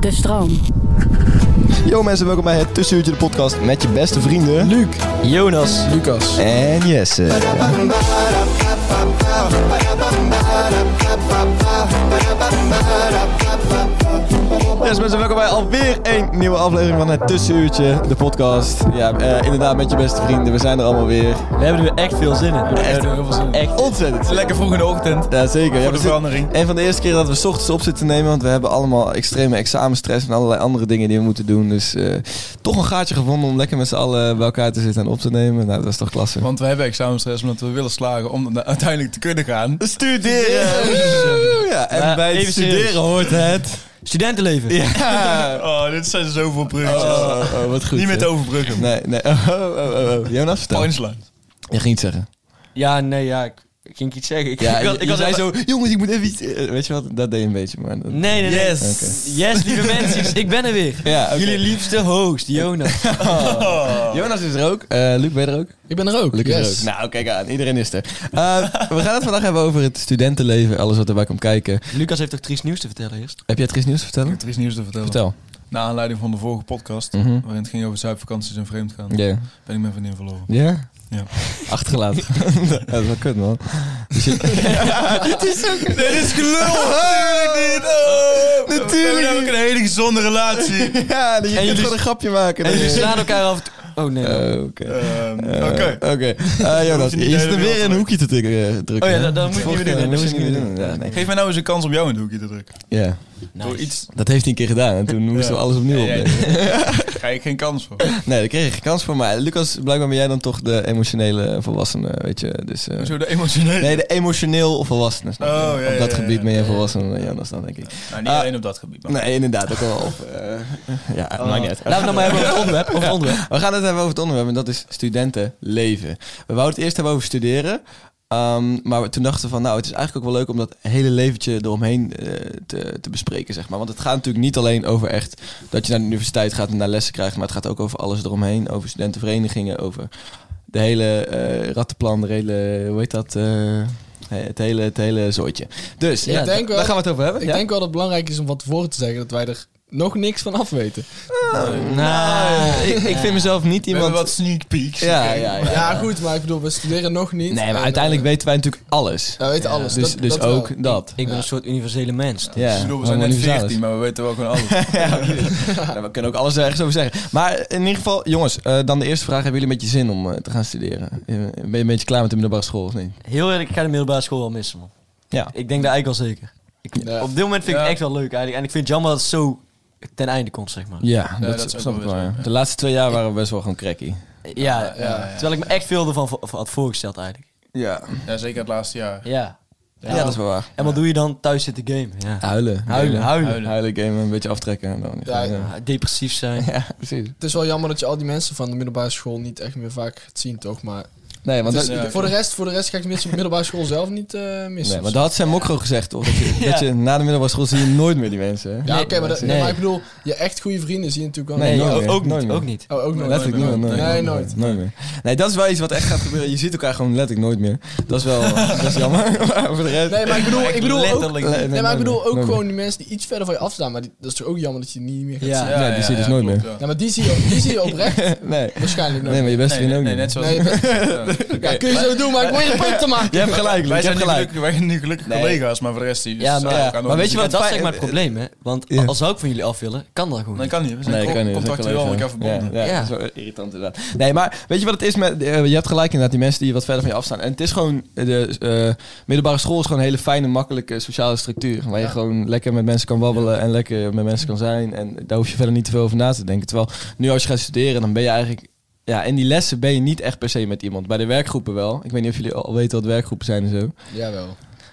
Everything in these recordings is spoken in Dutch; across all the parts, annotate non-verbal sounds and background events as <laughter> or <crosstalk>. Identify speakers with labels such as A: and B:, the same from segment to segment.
A: De stroom.
B: Yo mensen, welkom bij het Tussenuurtje de podcast met je beste vrienden... Luc, Jonas
C: Lucas.
B: en Jesse. Yes mensen, welkom bij alweer een nieuwe aflevering van het Tussenuurtje, de podcast. Ja, eh, inderdaad met je beste vrienden, we zijn er allemaal weer.
C: We hebben er echt veel zin in.
B: Echt
C: heel veel zin in.
B: Echt ontzettend.
C: Lekker vroeg in de ochtend.
B: Ja, zeker.
C: de
B: ja, we zitten-
C: verandering.
B: Een van de eerste keer dat we 's ochtends op zitten te nemen, want we hebben allemaal extreme examenstress en allerlei andere dingen die we moeten doen. Dus eh, toch een gaatje gevonden om lekker met z'n allen bij elkaar te zitten en op te nemen. Nou, dat is toch klasse.
C: Want we hebben examenstress omdat we willen slagen om na- uiteindelijk te kunnen gaan.
B: Studeren! Ja, en
D: Ja,
B: bij het
D: even
B: studeren
D: serieus.
B: hoort het.
D: Studentenleven.
B: Ja.
C: <laughs> Oh, dit zijn zoveel bruggetjes.
B: Oh, oh, oh, wat goed.
C: Niet meer te
B: hè.
C: overbruggen.
B: Nee, nee. Oh, oh, oh, oh. Jonas, vertel.
C: Punchline.
B: Je ging iets zeggen.
D: Ja, nee, ja. Ik, ging iets zeggen. Ik,
B: Ja,
D: ik
B: je, je zei
D: even-
B: zo, jongens, ik moet even iets... eh, Weet je wat, dat deed je een beetje, maar... dat-
D: Nee, nee, nee.
C: Yes.
D: Yes, <laughs> lieve mensen. Ik ben er weer.
B: Ja, oké.
D: Jullie liefste host, Jonas. <laughs>
B: Jonas is er ook. Eh Luc, ben je er ook?
C: Ik ben er ook.
B: Gelukkig
C: Yes.
B: is er ook. Nou, kijk aan. Iedereen is er. Eh, we gaan het vandaag hebben over het studentenleven. Alles wat erbij komt kijken.
D: Lucas heeft toch triest nieuws te vertellen eerst?
B: Heb jij het Gries nieuws te
C: Ik
B: vertellen?
C: heb er iets nieuws te vertellen.
B: Vertel.
C: Naar aanleiding van de vorige podcast,
B: Mhm.
C: waarin het ging over zuipvakanties en vreemdgaan,
B: Ja.
C: ben ik mijn vriendin <laughs> verloren.
B: Ja?
C: Ja.
B: Achtergelaten. dat is wel kut, man. Dus je-
C: Dit is gelul! dit!
B: Natuurlijk
C: Oh. We hebben ook
B: niet.
C: een hele gezonde relatie. <laughs>
B: ja, je kunt
D: jullie-
B: gewoon een grapje maken.
D: En jullie
B: Eh,
D: slaan elkaar af. en toe- Oh nee.
B: eh, Oké.
C: Ehm, Oké.
B: Eh, Oké. Eh, Jonas,
C: Hoef je niet
B: je
C: de
B: zit er
C: hele
B: weer
C: wereld
B: in een hoekje te tik- eh, drukken.
D: Oh ja,
B: hè?
D: dat- dat moet je niet meer doen,
B: eh,
D: dat
B: moest
D: moet
B: je
D: je
B: niet
D: niet
B: meer doen. Ja, nee.
C: Geef mij nou eens een kans om jou in het hoekje te drukken.
B: Ja.
D: Nice.
C: Door iets.
B: Dat heeft hij een keer gedaan en toen moesten we
C: Ja.
B: alles opnieuw
C: Ja, ja.
B: opnemen.
C: Ga ik geen kans
B: <laughs>
C: voor.
B: Nee, daar kreeg ik geen kans voor. Maar Lucas, blijkbaar ben jij dan toch de emotionele volwassene, weet je. Dus, eh,
C: Zo de emotionele.
B: nee, de emotioneel volwassene. snap je?
C: Oh, ja,
B: op dat
C: ja, ja,
B: gebied ben jij
D: ja, ja.
B: volwassen dan Jonas dan, denk ik.
C: Nou, niet
B: Ah.
C: alleen op dat gebied. Maar
B: Nee, inderdaad, ook wel. Of, eh, ja, maakt niet uit.
D: Laten we het nou maar hebben over het onderwerp. Over het onderwerp.
B: We gaan het hebben over het onderwerp en dat is studentenleven. We wouden het eerst hebben over studeren. ehm, maar we- toen dachten we van, nou, het is eigenlijk ook wel leuk om dat hele leventje eromheen eh, te, te bespreken, zeg maar. Want het gaat natuurlijk niet alleen over echt dat je naar de universiteit gaat en daar lessen krijgt, maar het gaat ook over alles eromheen. Over studentenverenigingen, over de hele eh, rattenplan, de hele, hoe heet dat? eh, het, hele, het hele zooitje. Dus, ja,
E: denk
B: da-
E: wel-
B: daar gaan we het over hebben.
E: Ik
B: ja?
E: denk wel dat het belangrijk is om van tevoren te zeggen dat wij er nog niks van af weten.
B: Nou, Oh, ik, ik vind mezelf niet
C: we hebben
B: iemand...
C: wat sneak peeks.
B: ja, ja, ja.
E: Ja, goed, maar ik bedoel, we studeren nog niet.
B: Nee, maar
E: En,
B: uiteindelijk
E: eh,
B: weten wij natuurlijk alles.
E: we weten alles.
B: Dus,
E: dat,
B: dus
E: dat wel.
B: ook dat.
D: Ik ben een soort universele mens.
B: Ja,
C: Ik bedoel, we zijn
B: gewoon
C: net
B: universalis.
C: 14, maar we weten wel gewoon alles.
B: <laughs> Nou, we kunnen ook alles ergens over zeggen. Maar in ieder geval, jongens, eh, dan de eerste vraag. Hebben jullie een beetje zin om eh, te gaan studeren? Eh, Ben je een beetje klaar met de middelbare school of niet?
D: Heel eerlijk, ik ga de middelbare school wel missen, man.
B: Ja.
D: Ik denk dat eigenlijk wel zeker. Ik,
E: Ja.
D: Op dit moment vind
C: Ja.
D: ik het echt wel leuk eigenlijk. En ik vind het jammer dat het zo ten einde komt, zeg maar.
B: Ja, dat,
C: dat is ook
B: snap
C: wel
B: ik wel.
C: weer zo,
B: ja. De laatste twee jaar waren we best wel gewoon cracky.
D: Ja, terwijl ik me echt veel ervan vo- had voorgesteld eigenlijk.
B: Ja.
C: Ja, zeker het laatste jaar.
D: Ja.
B: Ja, dat is wel waar.
D: En wat doe je dan? Thuis zitten gamen. Ja.
B: Huilen.
D: Huilen, huilen.
B: Huilen, huilen gamen, een beetje aftrekken. En dan, ja,
E: Ja,
B: ja.
D: Ja, Eh, Depressief zijn.
B: precies.
E: Het is wel jammer dat je al die mensen van de middelbare school niet echt meer vaak gaat zien, toch? Maar
B: Nee, want,
E: het is-
B: dat,
C: ja.
E: voor, de rest, voor de rest ga ik tenminste op de middelbare school zelf niet eh missen.
B: nee, maar dat had Sam ook gewoon gezegd, toch? Dat je, dat je na de middelbare school zie je nooit meer die mensen. Hè?
E: ja,
D: Nee,
E: oké, maar, dat-
B: nee.
E: nee, maar ik bedoel, je echt goede vrienden zie je natuurlijk wel.
B: Nee,
D: Nee,
B: nooit
D: o-
B: meer.
D: ook
B: Nooit
D: niet.
B: meer.
D: Ook niet.
E: Oh, ook nog.
B: Letterlijk
C: nooit
B: nooit,
C: meer.
B: nooit,
E: Nee,
B: nooit. meer. Nee, dat is wel iets wat echt gaat gebeuren. Je ziet elkaar gewoon letterlijk nooit meer. Dat is wel dat is jammer. <laughs> Maar voor de rest...
E: Nee, maar ik bedoel, ik bedoel ook,
C: Letterlijk.
B: Nee,
E: nee, maar ik bedoel
B: nooit
E: ook
B: meer.
E: gewoon die mensen die iets verder van je afstaan. Maar die, dat is toch ook jammer dat je die niet meer gaat
D: Ja.
E: zien.
B: Ja, die zie je dus nooit
C: klopt,
B: meer.
C: ja.
E: Ja, maar die zie je, die zie je oprecht
B: <laughs> Nee.
E: waarschijnlijk nog.
B: Nee, maar je beste
C: Nee,
B: vriend ook
C: nee,
B: niet.
C: net zoals... <laughs>
E: Nee,
C: Ja.
E: Ja, kun je zo doen, maar ik
C: <laughs>
E: probeer een punt te maken.
B: Je hebt gelijk, Luc,
C: Wij
B: je
C: zijn,
B: hebt
C: nu
B: gelijk.
C: gelukkig, wij zijn nu gelukkig
B: Nee.
C: collega's, maar voor de rest die... dus
D: Ja, maar-
C: elkaar
B: maar
C: nooit
B: weet je
C: zien.
B: wat
D: dat is
B: fijn-
D: zeg maar het probleem, hè? Want
B: Ja.
D: als zou ik van jullie af willen, kan dat gewoon.
C: Nee,
D: niet.
C: kan niet. We zijn
B: kan
C: nee,
B: niet, dat kan
C: contractueel aan
B: leuk
C: elkaar
B: zijn.
C: verbonden.
B: Ja, ja,
D: Ja.
B: dat is wel irritant inderdaad. Nee, maar weet je wat het is met... eh, je hebt gelijk inderdaad, die mensen die wat verder van je afstaan. En het is gewoon... De eh, middelbare school is gewoon een hele fijne, makkelijke sociale structuur. Waar je gewoon lekker met mensen kan babbelen en lekker met mensen kan zijn. En daar hoef je verder niet te veel over na te denken. Terwijl nu als je gaat studeren, dan ben je eigenlijk... Ja, in die lessen ben je niet echt per se met iemand. Bij de werkgroepen wel. Ik weet niet of jullie al weten wat werkgroepen zijn en zo.
E: Jawel.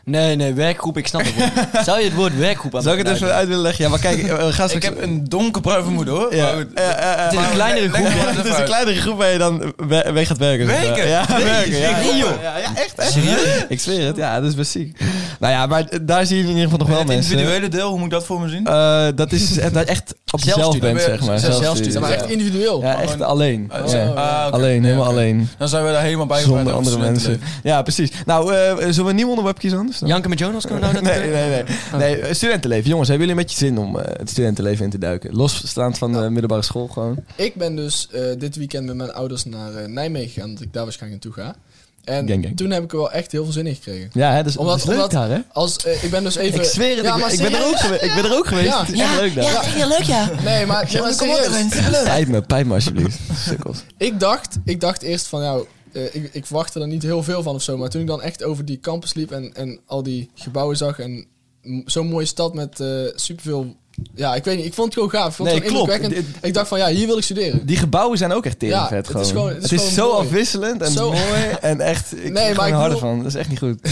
D: Nee, nee, werkgroep, ik snap het <laughs> niet. Zou je het woord werkgroep aan
B: Zou ik het
D: elkaar
B: even uit willen leggen? Ja, maar kijk, eh, we gaan
C: Ik
B: straks...
C: heb een donkerbruin vermoeden hoor.
B: Ja.
C: Maar goed.
B: Eh, eh, eh,
D: Het is een kleinere <laughs> groep.
C: Leg-
D: hè?
C: leg-
B: <laughs> Het is een kleinere groep waar je dan we- weg gaat werken. zeg maar.
C: Werken?
B: Ja, werken. Ja,
C: Nee, joh.
B: Ja, ja, echt, echt. Serieus? Ik zweer het, ja, dat is best ziek. Nou ja, maar eh, daar zie je in ieder geval nog wel
C: Het
B: mensen.
C: individuele deel, hoe moet ik dat voor me zien?
B: Eh, dat is eh, dat je echt op jezelf bent, zeg maar.
C: Zelfstudie.
E: Zeg maar echt
B: Zelfstudie.
E: individueel.
B: Ja, echt alleen.
C: Eh,
B: Ja.
C: zo, ah, oké.
B: Alleen,
C: Ja,
B: helemaal
C: oké.
B: alleen.
C: Dan zijn we daar helemaal bij
B: Zonder
C: gevraagd om
B: andere
C: te
B: mensen.
C: sleutelen.
B: Ja, precies. Nou, eh, zullen we een nieuw onderwerp kiezen anders? dan?
D: Janken met Jonas, kunnen we nou dat
B: <laughs> Nee, nee, nee. nee. eh, Studentenleven. Jongens, hebben jullie een beetje zin om eh, het studentenleven in te duiken? Losstaand van de middelbare school gewoon.
E: Ik ben dus eh, dit weekend met mijn ouders naar eh, Nijmegen gegaan, dat ik daar waarschijnlijk naartoe ga. En
B: Gang, gang.
E: toen heb ik er wel echt heel veel zin in gekregen.
B: Ja, hè, dus,
E: Omdat-
B: dat is leuk
E: omdat-
B: daar, hè?
E: Als, eh, ik ben dus even...
B: Ik zweer het,
E: Ja,
B: ik,
E: maar
B: ik ben er
E: serieus?
B: ook geweest. Ik ben er ook geweest.
E: Ja.
B: Het is echt leuk daar.
F: Ja, heel leuk ja.
E: Nee, maar, nee, maar serieus.
B: Pijt me, pijt me alsjeblieft. Sukkels.
E: Ik dacht, ik dacht eerst van, nou, eh, ik, ik verwachtte er niet heel veel van of zo. Maar toen ik dan echt over die campus liep en, en al die gebouwen zag en m- zo'n mooie stad met eh, superveel... Ja, ik weet niet, ik vond het gewoon gaaf. Ik vond het
B: Nee,
E: gewoon
B: klopt.
E: indrukwekkend. Ik dacht van, ja, hier wil ik studeren.
B: Die gebouwen zijn ook echt tering
E: Ja,
B: vet
E: het is
B: gewoon.
E: gewoon-
B: Het is
E: gewoon
B: zo
E: mooi.
B: afwisselend en
E: Zo-
B: mooi en echt... Ik
E: maar
B: nee, maar
E: ik
B: ik harder
E: bedoel-
B: van. Dat is echt niet goed. <laughs>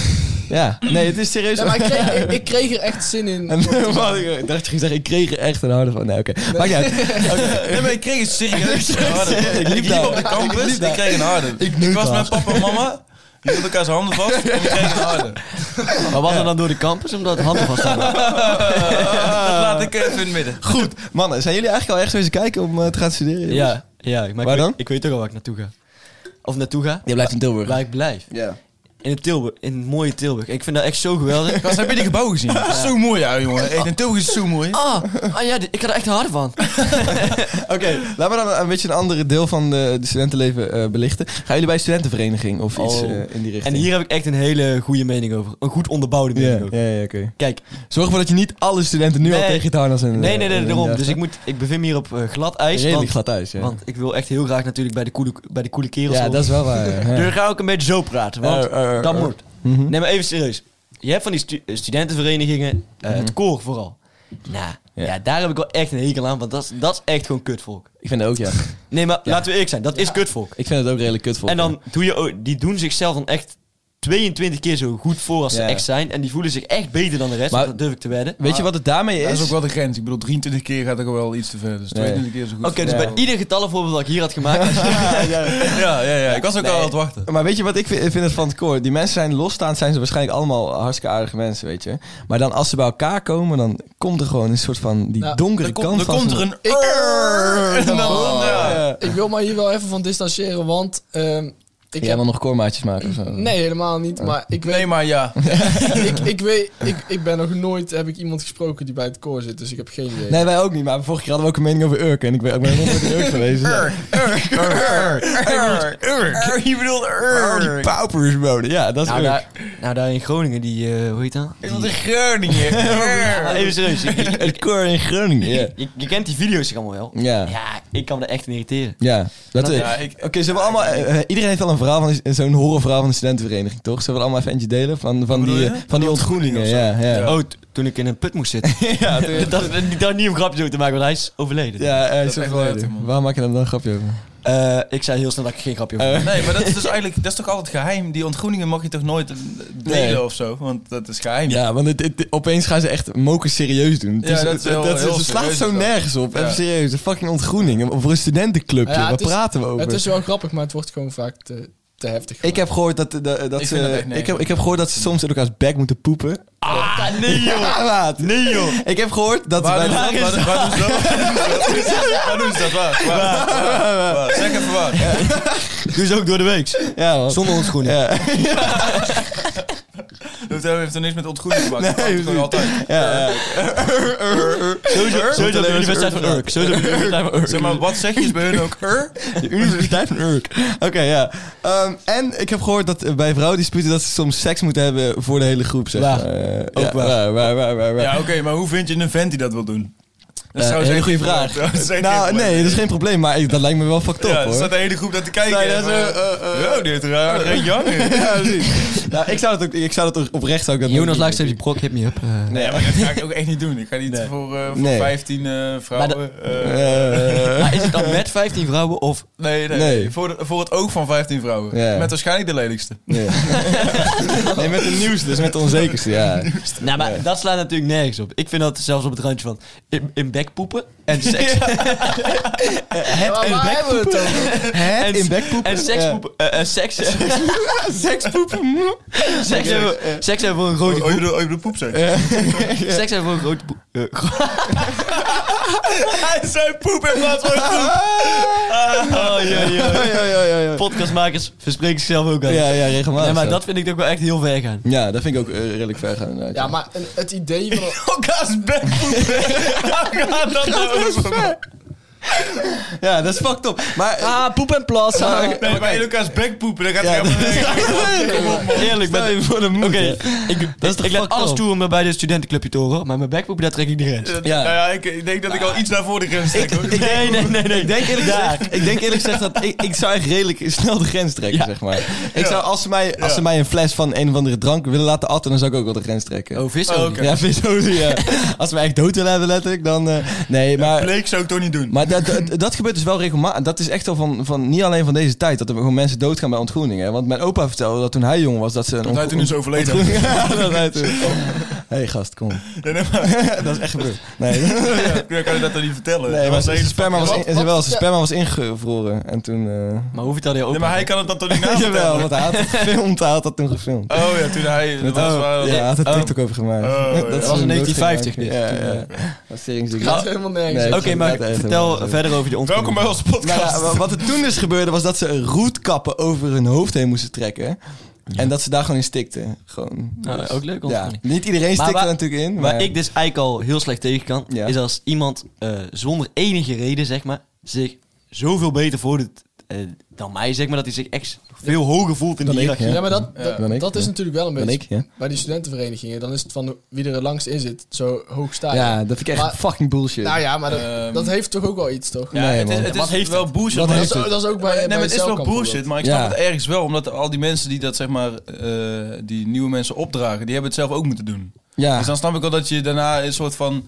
B: Ja, nee, het is serieus...
E: Ja, maar ik kreeg, ik, ik kreeg er echt zin in.
B: <laughs> En, <laughs> wat, ik dacht je ging zeggen, ik kreeg er echt een harde van. Nee, oké. Maakt niet uit.
C: Nee, maar ik kreeg het serieus.
B: <laughs> Ik
C: Ik
B: liep
C: liep
B: daar.
C: op de
B: Ik
C: campus,
B: liep daar.
C: ik kreeg een harde.
B: Ik
C: Ik,
B: neuk
C: was
B: haar.
C: met papa en mama, die hielden elkaar zijn handen vast en ik kreeg een
B: <laughs>
C: harde.
D: Maar was er dan door de campus omdat het handen vast waren?
C: Dat laat ik even in het midden.
B: Goed. Mannen, zijn jullie eigenlijk al echt zo eens kijken om eh, te gaan studeren? jongens?
D: Ja, ja. Maar
B: Waar
D: ik, weet-
B: dan?
D: Ik weet toch al waar ik naartoe ga. Of naartoe ga?
B: Je blijft in Tilburg.
D: Waar ik blijf.
B: Ja.
D: In het Tilburg. In het mooie Tilburg. <laughs> Ik vind dat echt zo geweldig.
C: Gast, heb je die gebouwen gezien? Dat is <laughs> zo mooi uit,
B: Oh.
C: jongen. Echt, in Tilburg is het zo mooi.
D: Ah, ah ja, dit- ik had er echt hard van.
B: Oké, laten we dan een beetje een ander deel van de, de studentenleven eh, belichten. Gaan jullie bij een studentenvereniging of iets
D: Oh.
B: eh, in die
D: En
B: richting?
D: hier heb ik echt een hele goede mening over. Een goed onderbouwde
B: Ja,
D: mening
B: ja,
D: ook.
B: ja, oké.
D: Kijk,
B: Zorg ervoor dat je niet alle studenten nu al
D: Nee.
B: tegen het harnas en
D: nee, nee, nee, daarom. Dus ik, moet, ik bevind me hier op eh, glad ijs.
B: eh, Redelijk
D: want,
B: glad thuis, ja.
D: want ik wil echt heel graag natuurlijk bij de coole, bij de coole kerels
B: ja,
D: horen.
B: dat is wel
D: <laughs>
B: waar. ja.
D: Dus dan ga ik een beetje zo praten, want
B: Eh, eh, eh,
D: dat
B: eh.
D: moet.
B: Mhm.
D: Nee, maar even serieus. Je hebt van die stu- eh, studentenverenigingen, eh, het koor vooral. Nou,
B: Hm. Ja.
D: ja. daar heb ik wel echt een hekel aan, want dat is, dat is echt gewoon kutvolk.
B: Ik vind het ook, ja.
D: Nee, maar laten we eerlijk zijn, dat is kutvolk.
B: Ik vind het ook redelijk kut voor.
D: En dan doe je, ook- die doen zichzelf dan echt 22 keer zo goed voor als
B: Ja.
D: ze echt zijn. En die voelen zich echt beter dan de rest,
B: Maar-
D: dat durf ik te wedden.
B: Weet je wat het daarmee
C: Dat
B: is?
C: is ook wel de grens. Ik bedoel, 23 keer gaat er ook wel iets te ver. Dus 22 keer is goed.
D: Oké, dus bij ieder getallenvoorbeeld dat ik hier had gemaakt... <laughs>
C: Ja, ja, ja. Ik was ook al aan het wachten.
B: Maar weet je wat ik vi- vind het van het koor? Die mensen zijn losstaand, zijn ze waarschijnlijk allemaal hartstikke aardige mensen, weet je. Maar dan als ze bij elkaar komen, dan komt er gewoon een soort van die
E: Nou,
B: donkere
C: Er,
B: kant
C: komt- er
B: van.
C: komt er
B: zo'n-
C: een... errr. En dan- ja.
B: Oh, nou, Ja.
E: Oh, Ik wil maar hier wel even van distancieren, want... ehm, ik
B: Jij
E: heb...
B: wil nog koormaatjes maken of zo?
E: Nee, helemaal niet. Maar ik weet,
C: Nee, maar ja.
E: ik, ik, weet ik, ik ben nog nooit... Heb ik iemand gesproken die bij het koor zit, dus ik heb geen idee.
B: Nee, wij ook niet. Maar vorige keer hadden we ook een mening over Urk. En ik ben, ik ben nog nooit in Urk geweest. dus ja.
C: Errr. Je bedoelt errr.
B: Oh, die paupers wonen. Ja, dat is
D: Nou,
B: Urk.
D: daar, nou, daar in Groningen, die, eh, hoe heet dat?
C: Ik
D: Die-
C: bedoel, de Groningen.
B: <laughs>
D: Ah,
C: Errr.
D: even serieus, je, je-
B: Het koor in Groningen. Ja.
D: je- je kent die video's toch allemaal wel?
B: Ja.
D: Ja, ik kan me er echt in irriteren.
B: Ja, dat is.
C: Ja, ik-
B: Oké, ze hebben allemaal. eh, eh, iedereen heeft wel een verhaal van die- zo'n horrorverhaal van de studentenvereniging, toch? Zullen we allemaal even eentje delen van, van
C: bedoel
B: die,
C: je?
B: eh, van die ontgroeningen? Ja, ja. ja.
D: Oh, t- toen ik in een put moest zitten. ja, <laughs> dat, dat niet om grapjes over te maken, want hij is overleden.
B: eh,
C: is
B: zo
C: echt
B: verleden.
C: wel heftig, man.
B: Waar maak je dan een grapje over?
D: Eh, ik zei heel snel dat ik geen grapje over maakte.
C: Nee, maar dat is dus eigenlijk, dat is toch altijd geheim. Die ontgroeningen mag je toch nooit eh, delen
B: Nee.
C: of zo, want dat is geheim.
B: Ja, want het, het- opeens gaan ze echt mokken serieus doen. Het
C: Ja,
B: is-
C: dat
B: het-
C: is wel
B: dat-
C: heel
B: Ze slaat
C: serieus,
B: zo
C: dat.
B: nergens op. Even serieus, een fucking ontgroening. Voor een studentenclubje,
E: Nou ja,
B: waar
E: het is-
B: praten we over?
E: Het is wel grappig, maar het wordt gewoon vaak te, te heftig.
B: Ik heb gehoord dat, de- de- dat
C: Ik
B: ze.
C: vind dat echt
B: ik,
C: nergens
B: heb, ik heb gehoord dat ze soms in elkaars bek moeten poepen.
D: Ah, nee joh!
B: Ja, maat.
D: Nee joh!
B: Ik heb gehoord dat ze
C: Waar
B: bij
C: doen
B: de-
C: ze dat? Waar- Waar doen ze dat? Waar doen ze dat? Waar doen ze
B: <laughs>
C: dat? Waar? Waar? Waar? Waar? Zeg even waar.
D: Dus ook door de week.
B: Ja, man.
D: Zonder ons
B: Ja.
C: heeft heeft er niks met ontgroening te maken. Dat kan gewoon altijd.
B: <laughs> Ja, ja.
D: Sowieso sowieso de Universiteit van Urk. Sowieso de Universiteit van Urk.
C: Zeg maar, wat zeg je is bij hun ook? Er?
B: De Universiteit van Urk. Oké, ja. Ehm, en ik heb gehoord dat eh, bij vrouwendisputen dat ze soms seks moeten hebben voor de hele groep. Zeg.
D: Waar?
B: Eh,
D: Ook
B: ja,
D: waar.
B: Waar, waar, waar, waar, waar.
C: Ja, oké, maar hoe vind je een vent die dat wil doen? Dat
B: Eh,
C: trouwens
B: hele
C: echt-
B: goede vraag.
C: <laughs> Dat is echt geen
B: nou,
C: probleem.
B: nee, dat is geen probleem, maar ik- dat lijkt me wel fucked up,
C: Ja, er
B: hoor.
C: staat de hele groep dat te kijken.
B: Nee, dat is,
C: maar-
B: eh, eh, eh.
C: Yo, die heeft er eh, geen jang in. <laughs>
B: Ja, precies. Nou, ik zou dat ook, ik zou dat ook oprecht zou ik dat
D: Jonas
B: ook
D: luistert
B: doen.
D: die brok, hit me up.
C: Nee, maar dat ga ik ook echt niet doen. Ik ga niet
D: Nee.
C: voor, eh, voor
B: Nee.
C: 15 eh, vrouwen. eh,
B: Eh,
D: <laughs> Maar is het dan met 15 vrouwen of...
C: nee, nee.
B: Nee.
C: Voor, de- voor het oog van 15 vrouwen.
B: Ja.
C: Met waarschijnlijk de lelijkste.
D: <laughs>
B: nee. nee, met de nieuws, dus met de onzekerste, ja.
D: Nou, maar dat slaat natuurlijk nergens op. Ik vind dat zelfs op het randje van in, in bekpoepen en seks. <laughs> Eh,
E: Ja, maar waar hebben we het over?
B: Het in bekpoepen?
D: En sekspoepen. eh, en seks.
B: Sekspoepen?
D: seks, hebben, seks hebben voor een grote
C: Oh, je
D: poep.
C: bedoelt- oh, je bedoelt poep zijn.
D: Seks hebben voor een grote poep.
C: <laughs> Hij zei poep in plaats van poep.
B: <laughs>
D: Oh, ja,
B: Ja,
D: ja.
B: ja, ja, ja, ja.
D: Podcastmakers verspreken zichzelf ook aan.
B: Ja, ja, regelmatig.
D: nee, maar
B: zo.
D: dat vind ik ook wel echt heel
B: <laughs>
D: ver gaan.
B: Ja, dat vind ik ook eh, redelijk ver gaan, inderdaad.
E: Ja, maar een- het idee van...
C: Elkaars bekpoep. Waar gaat dat
D: <laughs>
C: nou over?
B: Ja, dat is fucked up. Maar eh,
D: Ah, poep en plas.
C: Nee, maar in elkaars bek poepen, dat gaat
B: Ja,
C: helemaal
B: <laughs>
C: nergens
D: Eerlijk,
B: stel
D: met,
B: je voor de moed.
D: Oké,
B: hè.
D: ik,
B: Dat is
D: ik,
B: toch
D: ik laat
B: fucked
D: alles
B: up?
D: toe om me bij de studentenclubje te horen, maar mijn backpoep, daar trek ik de grens. <laughs>
C: Dat-
B: Ja. Ah.
C: Nou ja, ik, ik denk dat ik al iets naar voor de grens trek. hoor.
D: Nee, nee, nee, nee.
B: Ik denk eerlijk
D: Daar.
B: gezegd, ik denk eerlijk gezegd dat ik, ik zou echt redelijk snel de grens trekken,
D: Ja.
B: zeg maar. Ik
C: Ja.
B: zou, als ze, mij, als
C: Ja.
B: ze mij een fles van een of andere drank willen laten atten, dan zou ik ook wel de grens trekken.
D: Oh, vis
C: Oh,
D: ook.
C: oké.
B: Ja, visolie, ja. Als we echt dood willen hebben, letterlijk, dan... eh, nee, maar...
C: Bleek zou ik toch niet doen.
B: Maar dat, dat, dat gebeurt dus wel regelmatig. Dat is echt al van, van niet alleen van deze tijd. Dat er gewoon mensen doodgaan bij ontgroeningen. hè. Want mijn opa vertelde dat toen hij jong was dat ze een
C: Want hij toen is overleden.
B: ontgroening- <laughs> Ja, dat hij toen- hey, gast, kom.
C: Nee, nee, maar, ja,
B: <laughs> Dat is echt gebeurd. Nee,
C: dan kan je dat dan niet vertellen.
B: nee
C: Dat
B: maar
C: was de
B: zijn
C: hele
B: sperma was,
E: fucking-
B: in-
E: Wat-
B: wel,
E: wat-
B: zijn sperma was ingevroren. En toen... eh,
D: Maar hoe vertelde je ook?
C: Nee, maar hij kan het dan toch
B: <laughs>
C: niet na
B: Jawel,
C: vertellen?
B: want hij had
C: <laughs>
B: het gefilmd. Hij had dat toen gefilmd.
C: Oh ja, toen hij... Dat was waar-
B: ja, hij had er TikTok over gemaakt.
C: Oh, ja.
D: Dat was
B: een
D: in 1950
B: doodgemaakt.
D: dit.
B: Ja, ja. Dat is seringsdiek.
E: Het <laughs> gaat helemaal nergens
B: Nee.
E: over.
D: Oké, maar
B: Dat is
D: vertel
B: helemaal-
D: verder over die
C: Welkom
D: ontmoeting.
C: bij onze
B: Nou
C: podcast.
B: ja, wa- wat er toen dus gebeurde was dat ze roetkappen over hun hoofd heen moesten trekken. En dat ze daar gewoon in stikten. Gewoon.
C: Oh,
B: Dus
D: Nou, ook leuk
B: ja.
D: ontmoeting.
B: Niet iedereen
D: Maar
B: stikt er
D: waar-
B: natuurlijk in. Maar,
D: Waar ik dus eigenlijk al heel slecht tegen kan,
B: Ja.
D: is als iemand eh, zonder enige reden, zeg maar, zich zoveel beter voordoet eh, dan mij, zeg maar, dat hij zich echt veel hoger voelt in
B: Dan
D: die
B: ik,
D: hiërarchie.
B: ja.
E: Ja, maar dat,
C: Ja.
E: dat,
B: Dan ik,
E: dat is
B: ja.
E: natuurlijk wel een
B: Ben
E: beetje...
B: ik, ja.
E: Bij die studentenverenigingen, dan is het van wie er langs in zit, zo hoog staan.
B: ja, dat vind ik echt
E: Maar-
B: fucking bullshit.
E: Nou ja, maar dat,
C: Ehm.
E: dat heeft toch ook wel iets, toch?
C: Ja,
B: Nee,
C: het is,
B: man.
C: het
D: Wat
C: is
D: heeft
C: wel
D: het?
C: bullshit.
B: Wat
C: maar
E: Dat
B: heeft
E: is,
C: het-
B: het?
E: dat is ook bij,
C: nee,
E: bij
C: maar het is wel
E: Zelkamp
C: bullshit, maar ik snap
B: Ja.
C: het ergens wel. Omdat al die mensen die dat zeg maar, eh, die nieuwe mensen opdragen, die hebben het zelf ook moeten doen.
B: ja.
C: Dus dan snap ik wel dat je daarna een soort van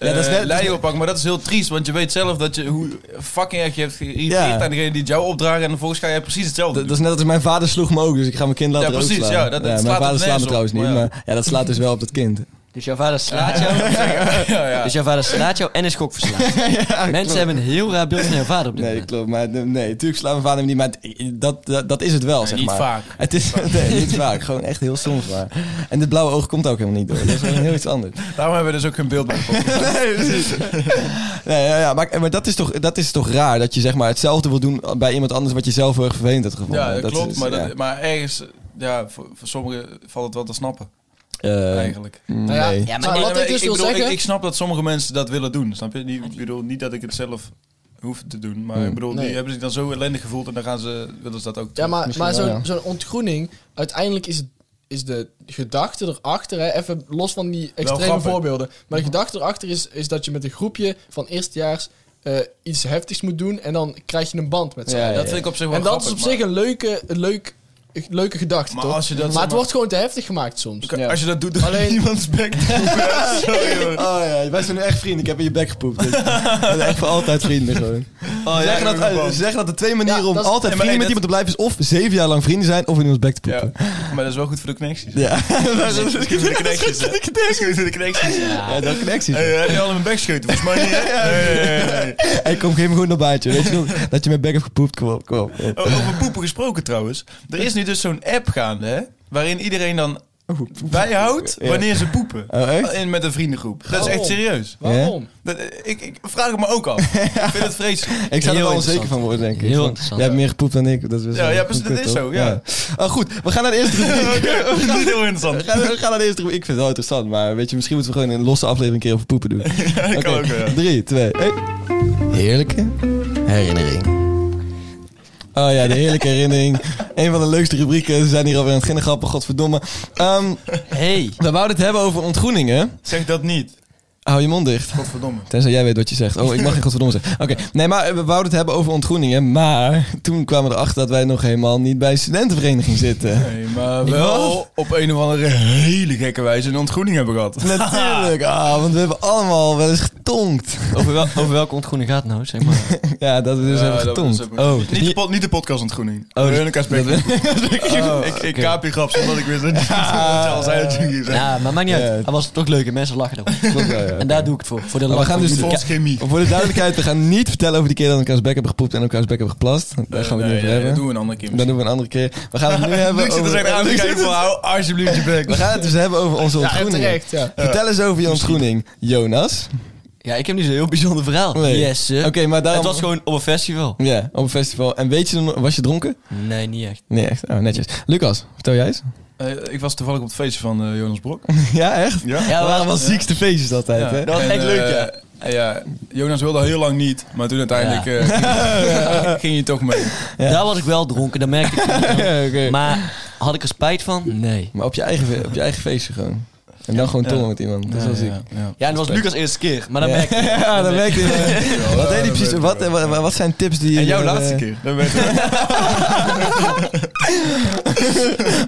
B: Ja, dat is
C: eh,
B: net-
C: lei oppakt. Maar dat is heel triest, want je weet zelf dat je hoe fucking erg je hebt geïrriteerd
B: Ja.
C: aan degene die het jou opdragen. En vervolgens ga jij precies hetzelfde
B: Dat,
C: doen.
B: dat is net als mijn vader sloeg me ook, dus ik ga mijn kind laten
C: Ja, precies,
B: ook slaan.
C: ja, dat- dat slaat
B: mijn vader
C: het
B: slaat me
C: nergens op,
B: trouwens niet,
C: maar ja.
B: maar ja, dat slaat dus wel op dat kind.
D: Dus jouw vader
B: <laughs>
D: slaat jou,
C: <laughs> ja, ja.
D: dus jouw vader slaat jou en is gokverslaafd. Mensen hebben een heel raar beeld van jouw vader op dit
B: Nee,
D: moment.
B: klopt. Maar nee, natuurlijk slaat mijn vader hem niet, maar het- dat, dat, dat is het wel, zeg
C: niet
B: maar.
C: vaak.
B: Het is <laughs> nee, niet vaak, gewoon echt heel soms maar. En dit blauwe oog komt daar ook helemaal niet door. Dat is gewoon heel iets anders.
C: Daarom hebben we dus ook geen beeld
B: <laughs>
C: bij. de podcast.
B: Nee, precies. Nee, ja, ja, maar maar dat, is toch, dat is toch raar dat je zeg maar, hetzelfde wil doen bij iemand anders wat je zelf heel erg vervelend hebt gevonden.
C: ja, dat, klopt.
B: is,
C: maar,
B: ja.
C: dat, maar ergens, ja, voor, voor sommigen valt het wel te snappen,
B: Eh,
C: eigenlijk.
B: mm,
E: Nou ja,
B: nee.
D: Ja, maar
E: maar
D: nee,
E: wat
C: Nee, maar
E: ik dus wil
C: bedoel,
E: zeggen...
C: Ik, ik snap dat sommige mensen dat willen doen, snap je? Die, ik bedoel niet dat ik het zelf hoef te doen, maar
B: Hmm.
C: ik bedoel,
E: Nee.
C: die hebben zich dan zo ellendig gevoeld en dan gaan ze, willen ze dat ook
E: Ja, maar,
B: Misschien
E: maar
B: wel,
E: zo'n
B: ja.
E: zo'n ontgroening, uiteindelijk is, het, is de gedachte erachter, hè, even los van die extreme
C: grappig.
E: voorbeelden, maar de gedachte erachter is, is dat je met een groepje van eerstejaars eh, iets heftigs moet doen en dan krijg je een band met z'n
B: Ja,
E: allen.
C: Dat vind ik op zich wel
E: En dat is op
C: grappig,
E: zich een leuke, een leuk, een leuke gedachte,
C: Maar
E: toch?
C: als je dat, zeg
E: maar het
C: maar-
E: wordt gewoon te heftig gemaakt soms.
C: maar-
B: Ja.
C: Als je dat doet, dan <laughs>
E: Alleen-
C: Alleen... iemands bek. Ja, sorry, hoor.
B: Oh ja, wij zijn nu echt vrienden. Ik heb in je bek
C: <laughs>
B: gepoept. We zijn echt voor altijd vrienden gewoon.
C: Oh, ja,
B: ze, zeggen dat,
C: ik ben bang.
B: ze zeggen dat de twee manieren
E: Ja,
B: om
E: dat is-
B: altijd
C: Nee, maar
B: vrienden met
C: hey,
B: iemand te blijven is of zeven jaar lang vrienden zijn of in ons bek te
C: Ja,
B: poepen.
C: maar dat is wel goed voor de connecties.
B: Ja, <laughs> dat
C: <laughs>
B: is
C: Dat is goed voor de connecties. hè. <laughs> Dat is goed voor de connecties.
B: ja, dat connecties.
C: Hey,
B: Hey,
C: heb je al in mijn bek geschoten? Volgens mij niet, hè? Nee, nee, nee, nee.
B: kom geef me goed een baantje. Weet je nog dat je mijn bek hebt gepoept? Kom op, kom op.
C: Oh, O- Over poepen gesproken trouwens. Er is nu dus zo'n app gaande, hè? Waarin iedereen dan bijhoudt
B: Oh, Ja.
C: wanneer ze poepen.
B: Oh, echt? Oh.
C: In, met een vriendengroep. Dat is echt
E: Waarom?
C: serieus.
E: Waarom?
C: Dat, ik, ik vraag het me ook af.
B: <laughs>
C: ik vind het vreselijk.
B: Ik zou er wel
D: Heel interessant.
B: onzeker van worden, denk ik.
D: Heel
B: Want
D: interessant.
B: Jij hebt meer gepoept dan ik. Dat is
C: Ja, ja, precies, dat is zo, ja.
B: Oh, goed, we gaan naar de eerste rubriek.
C: <laughs> Dat is niet heel interessant.
B: We gaan, we gaan naar de eerste rubriek. Ik vind het wel interessant, maar weet je, misschien moeten we gewoon in een losse aflevering een keer over poepen doen.
C: <laughs> Ja, dat kan
B: <laughs> Oké,
C: ook wel, ja.
B: Drie, twee, één. Heerlijke herinnering. Oh ja, de heerlijke herinnering. Een van de leukste rubrieken. Ze zijn hier alweer aan het ginnengrappen, godverdomme. Ehm,
D: Hey.
B: we wouden het hebben over ontgroeningen.
C: Zeg dat niet.
B: Hou je mond dicht.
C: Godverdomme.
B: Tenzij jij weet wat je zegt. Oh, ik mag geen godverdomme zeggen. Oké, nee, maar we wouden het hebben over ontgroeningen. Maar toen kwamen we erachter dat wij nog helemaal niet bij studentenvereniging zitten.
C: Nee, maar wel op een of andere hele gekke wijze een ontgroening hebben
B: <laughs>
C: gehad.
B: Natuurlijk, ah, want we hebben allemaal wel eens getonkt. <laughs>
D: Over, wel, over welke ontgroening gaat het nou, zeg maar?
B: Ja, dat we dus
C: Ja,
B: hebben
C: dat-
B: getonkt.
C: dat is ook-
B: oh,
C: niet, de pod- niet de podcast ontgroening. Oh,
B: dat- Oh,
C: Veronica <laughs> Spek. ik ik kaap je grap omdat ik wist
B: <laughs>
C: dat je al zei dat jullie zijn.
D: Ja, maar maakt niet
B: <laughs> Ja.
D: uit. Hij was toch leuk en mensen lachen erom.
B: klopt wel, ja.
D: En daar doe ik het voor. Voor de
B: Maar we
D: lach
B: gaan
D: van
B: dus
D: jullie.
C: Volgens chemie.
B: Voor de duidelijkheid, we gaan niet vertellen over die keer dat we elkaars bek hebben gepoept en elkaars bek hebben geplast. Daar gaan we het
C: Nee,
B: niet over
C: nee,
B: hebben.
C: Dat doen we een andere keer. <laughs>
B: Dat doen we een andere keer. We gaan het nu hebben
C: Luc zit er
B: over...
C: echt aan te
B: Luc zit
C: kijken van hou alsjeblieft je bek.
B: We gaan het dus hebben over
C: <laughs>
B: onze
E: Ja, en
B: ontgroening.
E: terecht, ja.
B: Vertel eens over je ontgroening, Jonas.
D: Ja, ik heb niet zo'n heel bijzonder verhaal.
B: Nee.
D: Yes, sir.
B: Oké, maar daarom...
D: Het was gewoon op een festival.
B: Ja, op een festival. En weet je, nog- was je dronken?
D: Nee, niet echt.
B: Nee, echt. Oh, netjes. Lucas, vertel jij eens.
C: Eh, Ik was toevallig op het feestje van eh, Jonas Brok.
B: <laughs> ja, echt?
D: Ja,
B: we waren wel
D: was
B: ziekste feestjes altijd, hè?
D: Dat was
C: En,
D: echt leuk,
C: eh,
D: ja.
C: eh, ja. Jonas wilde al heel lang niet, maar toen uiteindelijk <laughs> eh, ging hij toch mee.
D: Daar was ik wel dronken, dat merkte ik.
B: Ja, <laughs> oké. maar,
D: Maar had ik er spijt van? Nee.
B: op, je eigen, op je eigen feestje gewoon. En dan gewoon tongen met iemand. Dat is wel ziek.
C: Ja, ja.
D: Ja, en dat was Lucas eerste keer. Maar dat
B: Ja.
D: merk ik.
B: <laughs> Ja, dat merk je.
C: Ja,
B: Wat, deed hij
C: dat
B: precies,
C: weet ik
B: wat,
C: wel.
B: wat, wat zijn tips die je...
C: En jouw
B: eh,
C: laatste keer. Dat weet ik wel.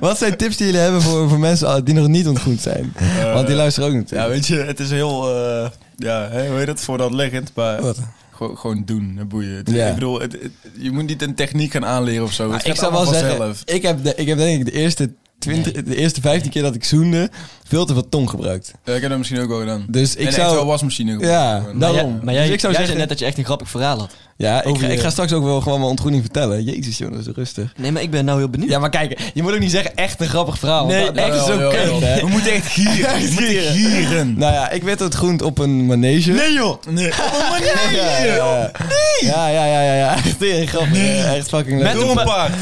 B: Wat zijn tips die jullie hebben voor, voor mensen ah, die nog niet ontgroend
C: <laughs>
B: zijn? Want die luisteren ook niet.
C: Eh,
B: Ah,
C: Ja, weet je, het is heel... eh, ja, hè, hoe heet het? Voor dat liggend, maar...
B: Wat?
C: Gewoon, gewoon doen, hè, boeien. Het-
B: Ja.
C: Ik bedoel, het, het- je moet niet een techniek gaan aanleren of zo. Het
B: Maar
C: gaat
B: ik zou wel
C: allemaal
B: zeggen,
C: vanzelf.
B: ik heb, de, ik heb denk ik de eerste, 20, de eerste 15 keer dat ik zoende veel te veel tong gebruikt.
C: Ja, ik heb dat misschien ook wel gedaan.
B: Dus ik
C: en
B: zou-
C: echt wel wasmachine gebruikt.
B: Ja,
C: Gewoon.
B: dat-
D: Maar jij,
B: Daarom.
D: maar jij,
B: Dus ik zou
D: jij
B: zeggen-
D: zei net dat je echt een grappig verhaal had.
B: Ja, ik,
D: Over
B: ga-
D: je-
B: ik ga straks ook wel gewoon mijn ontgroening vertellen. Jezus jongens, rustig.
D: Nee, maar ik ben nou heel benieuwd.
B: Ja, maar kijk, je moet ook niet zeggen echt een grappig verhaal. want
D: Nee,
B: dat, dat
D: echt
B: is
C: Jawel,
B: zo
C: jawel,
B: kut,
C: jawel.
B: hè?
C: We moeten echt gieren. We moeten
B: gieren.
C: gieren.
B: Nou ja, ik werd het groen op een manege.
C: Nee joh! Nee. Op een manier!
B: ja, ja. ja, ja, ja, ja, ja. <laughs> Echt tering grappig. Ja, Echt fucking leuk.
C: Door een paard!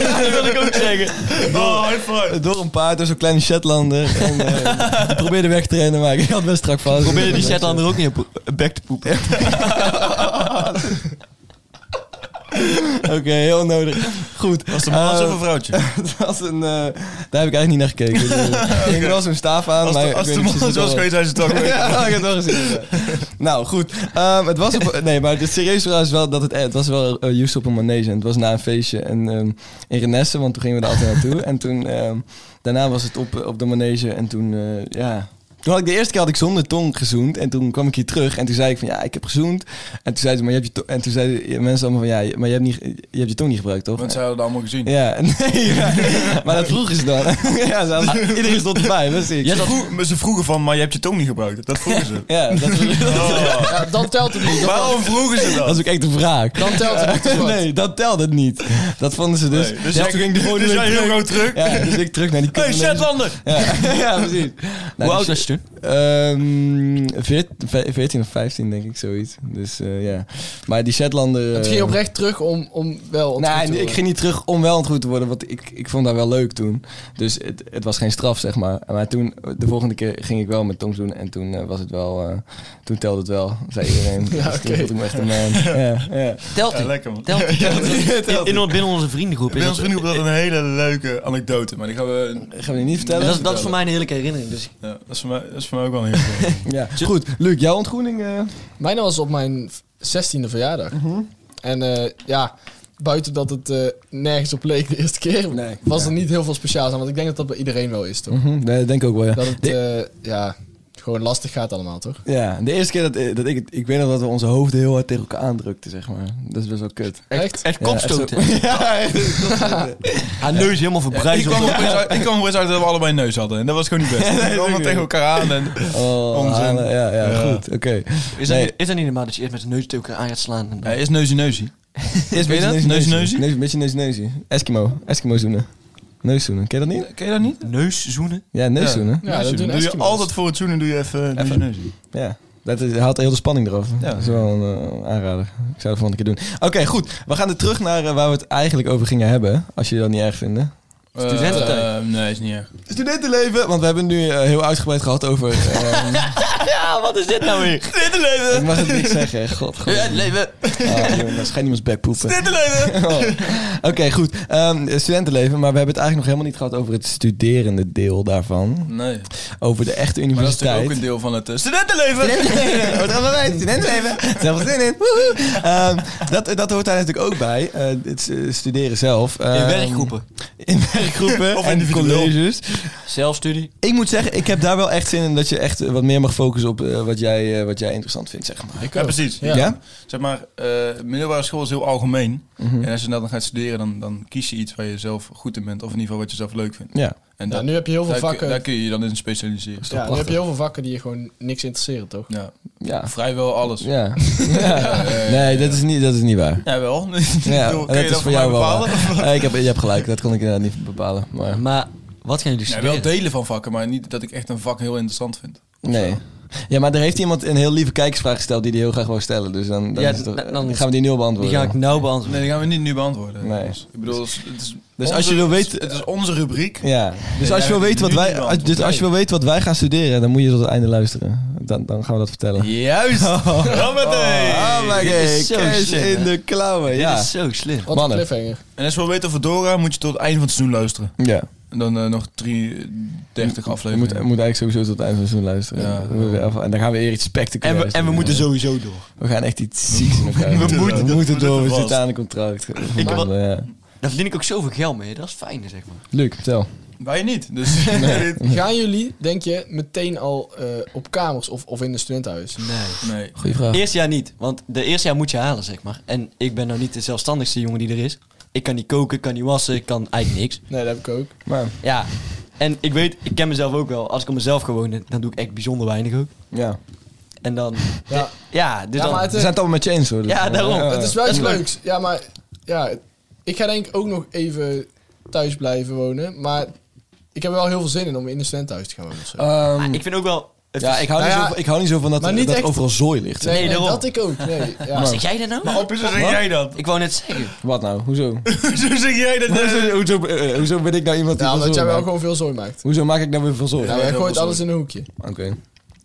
D: dat wil ik ook zeggen.
C: Oh, high five!
B: Door een paard, door zo'n kleine
C: <laughs>
B: Shetlander. En, eh, ik probeerde weg te rennen, maar ik had best strak vast.
D: Probeer je die
B: <laughs>
D: Shetlander ook niet op back te poepen.
B: Oké, heel nodig. Goed.
C: Was het een man
B: Eh,
C: of
B: <laughs>
C: een vrouwtje?
B: Het was een... eh, daar heb ik eigenlijk niet naar gekeken.
C: <laughs>
B: Ik ging wel zo'n staaf aan,
C: Als
B: maar
C: de-
B: ik
C: als
B: weet
C: de
B: niet
C: man
B: precies
C: was
B: wat
C: geweest, hij is het ook <laughs>
B: het was. <laughs> Ja, ik heb het wel gezien. ja. Nou, goed. Ehm, het was op... Nee, maar het serieuze verhaal is wel dat het... eh, Het was wel eh, juist op een manege. En het was na een feestje en, ehm, in Renesse, want toen gingen we daar altijd <laughs> naartoe. En toen... ehm, daarna was het op, eh, op de manege en toen... eh, ja... Toen had ik de eerste keer had ik zonder tong gezoend. En toen kwam ik hier terug. En toen zei ik van ja, ik heb gezoend. En toen zeiden, ze, maar je hebt je to- en toen zeiden mensen allemaal van ja, maar je hebt, niet, je hebt je tong niet gebruikt, toch?
C: Want ze hadden het allemaal gezien.
B: Ja, <laughs> nee, ja. maar dat vroegen ze dan. <laughs> ja, ze hadden- <laughs> iedereen stond erbij, dat zie ik.
C: Ze, vroeg- maar ze vroegen van, maar je hebt je tong niet gebruikt. Dat vroegen ze.
B: Ja, dat, <laughs>
C: Oh.
E: Ja, dan telt het niet. Dan,
C: Waarom vroegen ze
B: dat
C: dat?
B: is ook echt de vraag.
E: dan telt het
C: <laughs>
E: niet. te zwart.
B: nee, dat telde het niet. Dat vonden ze dus.
C: Nee, dus jij-
B: ging de volgende
C: dus
B: week
C: jij heel groot terug.
B: Ja, dus ik terug naar die
C: Hey,
B: kutmanege.
C: Zetlander!
B: Ja, <laughs> ja, precies. Nou, dus,
D: Hoe oud was je toen?
B: Ehm, veert- ve- 14 of 15, denk ik, zoiets. Dus eh, ja. Maar die Shetlander...
E: Het
B: eh,
E: ging oprecht terug om, om wel ontgroeid
B: Nee,
E: te
B: ik
E: worden.
B: ging niet terug om wel ontgroeid te worden, want ik, ik vond dat wel leuk toen. Dus het, het was geen straf, zeg maar. Maar toen, de volgende keer ging ik wel met tong doen en toen eh, was het wel, eh, toen telde het wel, zei iedereen. Dus
E: Ja,
B: toen
E: oké.
B: voelde ik me echt een man. Ja, ja.
D: Telt
C: Ja,
D: hij?
C: lekker man. <laughs>
D: Telt hij?
B: telt
D: In,
B: hij.
D: in- binnen onze vriendengroep. Is
C: Bij
D: dat,
C: ons vrienden dat een hele leuke anekdote, maar die gaan we...
B: Gaan we die niet vertellen?
D: dat, is, dat is voor mij een heerlijke herinnering. Dus
C: Ja, dat, is voor mij, dat is voor mij ook wel een heel leuk.
B: Ja. Goed, Luc, jouw ontgroening? eh?
E: Mijn was op mijn 16e verjaardag.
B: Mhm.
E: En eh, ja, buiten dat het eh, nergens op leek de eerste keer,
B: Nee.
E: was
B: Ja.
E: er niet heel veel speciaals aan. Want ik denk dat dat bij iedereen wel is, toch?
B: Mhm, nee, dat denk ik ook wel, ja.
E: Dat het
B: De-
E: eh, ja, gewoon lastig gaat allemaal, toch?
B: ja, de eerste keer dat, eh, dat ik het- ik weet nog dat we onze hoofden heel hard tegen elkaar aandrukten, zeg maar. Dat is best wel kut. Ja,
D: echt
E: Echt?
B: echt zo- <laughs>
D: kopstoten. Haar neus helemaal verbrijzeld.
C: Ik kwam er opeens uit- ik kwam er opeens uit dat we allebei een neus hadden en dat was gewoon niet
B: <laughs>
C: best. We kwamen tegen elkaar aan en...
B: Oh,
C: Onzin.
B: Hanne, ja, ja,
C: Ja.
B: goed, oké.
D: <laughs> Is,
B: Nee.
D: dat niet, is dat niet normaal dat je eerst met de neus tegen elkaar aan gaat slaan? En
C: Ja,
D: dan-
C: is neusie neusie.
B: Eerst
C: Weet je dat? Neus-neusie?
B: Een beetje neus-neusie. Eskimo. Eskimo zoenen. Neuszoenen, ken je dat niet?
C: Ken je dat niet?
D: Neus zoenen.
B: Ja, neuszoenen.
E: Ja, dat doen
C: doe je
E: Eskimo's.
C: altijd voor het zoenen doe je even,
B: Even-
C: even neus in.
B: Ja. Dat is, haalt heel de spanning eraf.
C: Ja.
B: Dat is wel een eh, aanrader. Ik zou het volgende keer doen. Oké, goed. We gaan er terug naar eh, waar we het eigenlijk over gingen hebben. Als jullie dat niet erg vinden.
D: Studententijd.
C: Eh, nee, is niet erg.
B: Studentenleven, want we hebben nu eh, heel uitgebreid gehad over... <laughs> eh,
D: Ja, wat is dit nou weer?
B: ik mag het niet zeggen. God, god.
D: leven.
B: Ah, jongen, dat schijnt iemands bek poepen. Studentenleven! Oh. Oké, goed. Ehm, studentenleven, maar we hebben het eigenlijk nog helemaal niet gehad over het studerende deel daarvan.
C: Nee.
B: Over de echte
C: Maar dat is natuurlijk
B: universiteit.
C: ook een deel van het eh, studentenleven.
B: Studentenleven. Wat gaan we bij? Studentenleven. Zelf zin in. Woehoe. Ehm, dat, dat hoort daar natuurlijk ook bij. eh, het s- studeren zelf.
D: In
B: Ehm,
D: werkgroepen.
B: In werkgroepen
C: <laughs> Of
B: en
C: individueel.
B: colleges.
D: Zelfstudie.
B: Ik moet zeggen, ik heb daar wel echt zin in dat je echt wat meer mag focussen op eh, wat, jij, eh, wat jij interessant vindt, zeg maar.
C: Ja, precies.
B: Ja?
C: Zeg maar, eh, middelbare school is heel algemeen.
B: Mhm.
C: En als je dan gaat studeren, dan, dan kies je iets waar je zelf goed in bent. Of in ieder geval wat je zelf leuk vindt.
B: Ja.
C: En
E: Ja,
C: dat-
E: nu heb je heel veel
C: daar, kun- daar
E: vakken.
C: kun je je dan in specialiseren.
E: Ja, nu heb je heel veel vakken die je gewoon niks interesseren, toch?
C: Ja,
B: Ja.
C: vrijwel alles. Ja, <laughs>
B: Ja. ja. Nee, dat is niet, dat is niet waar.
C: wel. <laughs>
B: Ja, en dat is voor jou wel.
C: bepalen?
B: waar. <laughs> Eh, ik heb, je hebt gelijk, dat kon ik inderdaad niet bepalen. Maar
D: Maar wat gaan jullie
C: Ja,
D: studeren?
C: wel delen van vakken, maar niet dat ik echt een vak heel interessant vind.
B: nee. Ja, maar er heeft iemand een heel lieve kijkersvraag gesteld die die heel graag wou stellen. Dus dan, dan,
D: Ja,
B: is het toch-
D: dan- dan-
B: gaan we die nu al
D: Die
B: beantwoorden.
D: ga ik nou beantwoorden.
C: Nee, die gaan we niet nu beantwoorden.
B: Nee.
C: Dus, ik bedoel, het is- het is
B: Dus als je wil weten-
C: Het is onze rubriek.
B: Ja. Dus als je wil
C: jij
B: weten wat
C: nu
B: wij,
C: niet
B: als, dus
C: beantwoord.
B: als je wil weten wat wij gaan studeren, dan moet je tot het einde luisteren. Dan, dan gaan we dat vertellen. Oh
C: Juist!
D: Oh.
B: Nou,
C: Hoppatee.
D: Dit is zo
B: cash
D: slim,
B: in
D: hè?
B: de klauwen.
D: Dit
B: Ja.
D: is zo slim.
E: Wat
B: Mannen.
E: een cliffhanger.
C: En als je wil weten of we doorgaan, moet je tot het einde van het seizoen luisteren.
B: ja.
C: En dan eh, nog 33
B: Je moet, je
C: afleveringen.
B: moet eigenlijk sowieso tot het einde van het seizoen luisteren.
C: Ja.
B: Dan moeten we even- En dan gaan we weer iets spectaculairs doen.
D: sowieso door.
B: We gaan echt iets zieks in elkaar. doen.
C: moeten
B: we
C: dat-
B: moeten
C: we
B: door, we
C: moeten
B: zitten aan een contract. eh,
D: Ik heb wat-
B: Ja.
D: Daar verdien ik ook zoveel geld mee. Dat is fijn, zeg maar.
B: Luc, vertel.
C: Wij niet.
B: <laughs>
C: Dus <laughs> nee.
B: Mhm.
E: Gaan jullie, denk je, meteen al eh, op kamers of, of in een studentenhuis?
D: Nee.
C: nee.
B: Goeie vraag.
D: Eerste jaar niet, want de eerste jaar moet je halen, zeg maar. En ik ben nou niet de zelfstandigste jongen die er is. Ik kan niet koken, ik kan niet wassen, ik kan eigenlijk niks.
E: Nee, dat heb ik ook.
B: Maar,
D: Ja, en ik weet, ik ken mezelf ook wel. Als ik op mezelf ga wonen, dan doe ik echt bijzonder weinig ook.
B: ja.
D: En dan,
E: Ja,
D: ja, dus
E: Ja,
D: dan...
E: maar
B: We zijn het allemaal met je eens hoor. dus, eh,
D: Ja, daarom.
E: het is wel
D: dat
E: iets
D: is leuk.
E: leuks. Ja, maar ja, ik ga denk ik ook nog even thuis blijven wonen. Maar ik heb er wel heel veel zin in om in een studentenhuis te gaan wonen. of zo.
B: Ehm,
D: Ah, ik vind ook wel... het
B: ja,
D: is-
B: ik hou,
E: Nou
B: niet
E: ja,
B: zo, van- ik hou niet zo van dat,
E: maar niet
B: dat
E: echt-
B: overal zooi ligt.
E: nee,
B: zeg.
D: nee, daarom.
E: dat ik ook. Nee, ja.
D: Zeg jij dat nou?
C: Op zeg jij dat?
D: Ik wou net
C: <laughs>
D: zeggen.
B: Wat nou? <laughs> Hoezo?
C: Zo zeg jij dat?
B: hoezo, hoezo, eh, hoezo ben ik nou iemand die
E: Ja,
B: van
E: omdat jij
B: zooi
E: wel
B: maakt?
E: gewoon veel zooi maakt.
B: Hoezo maak ik nou weer van zooi?
E: Ja,
C: heel
E: jij
C: veel
E: gooit
C: zooi.
E: alles in een hoekje.
B: Oké,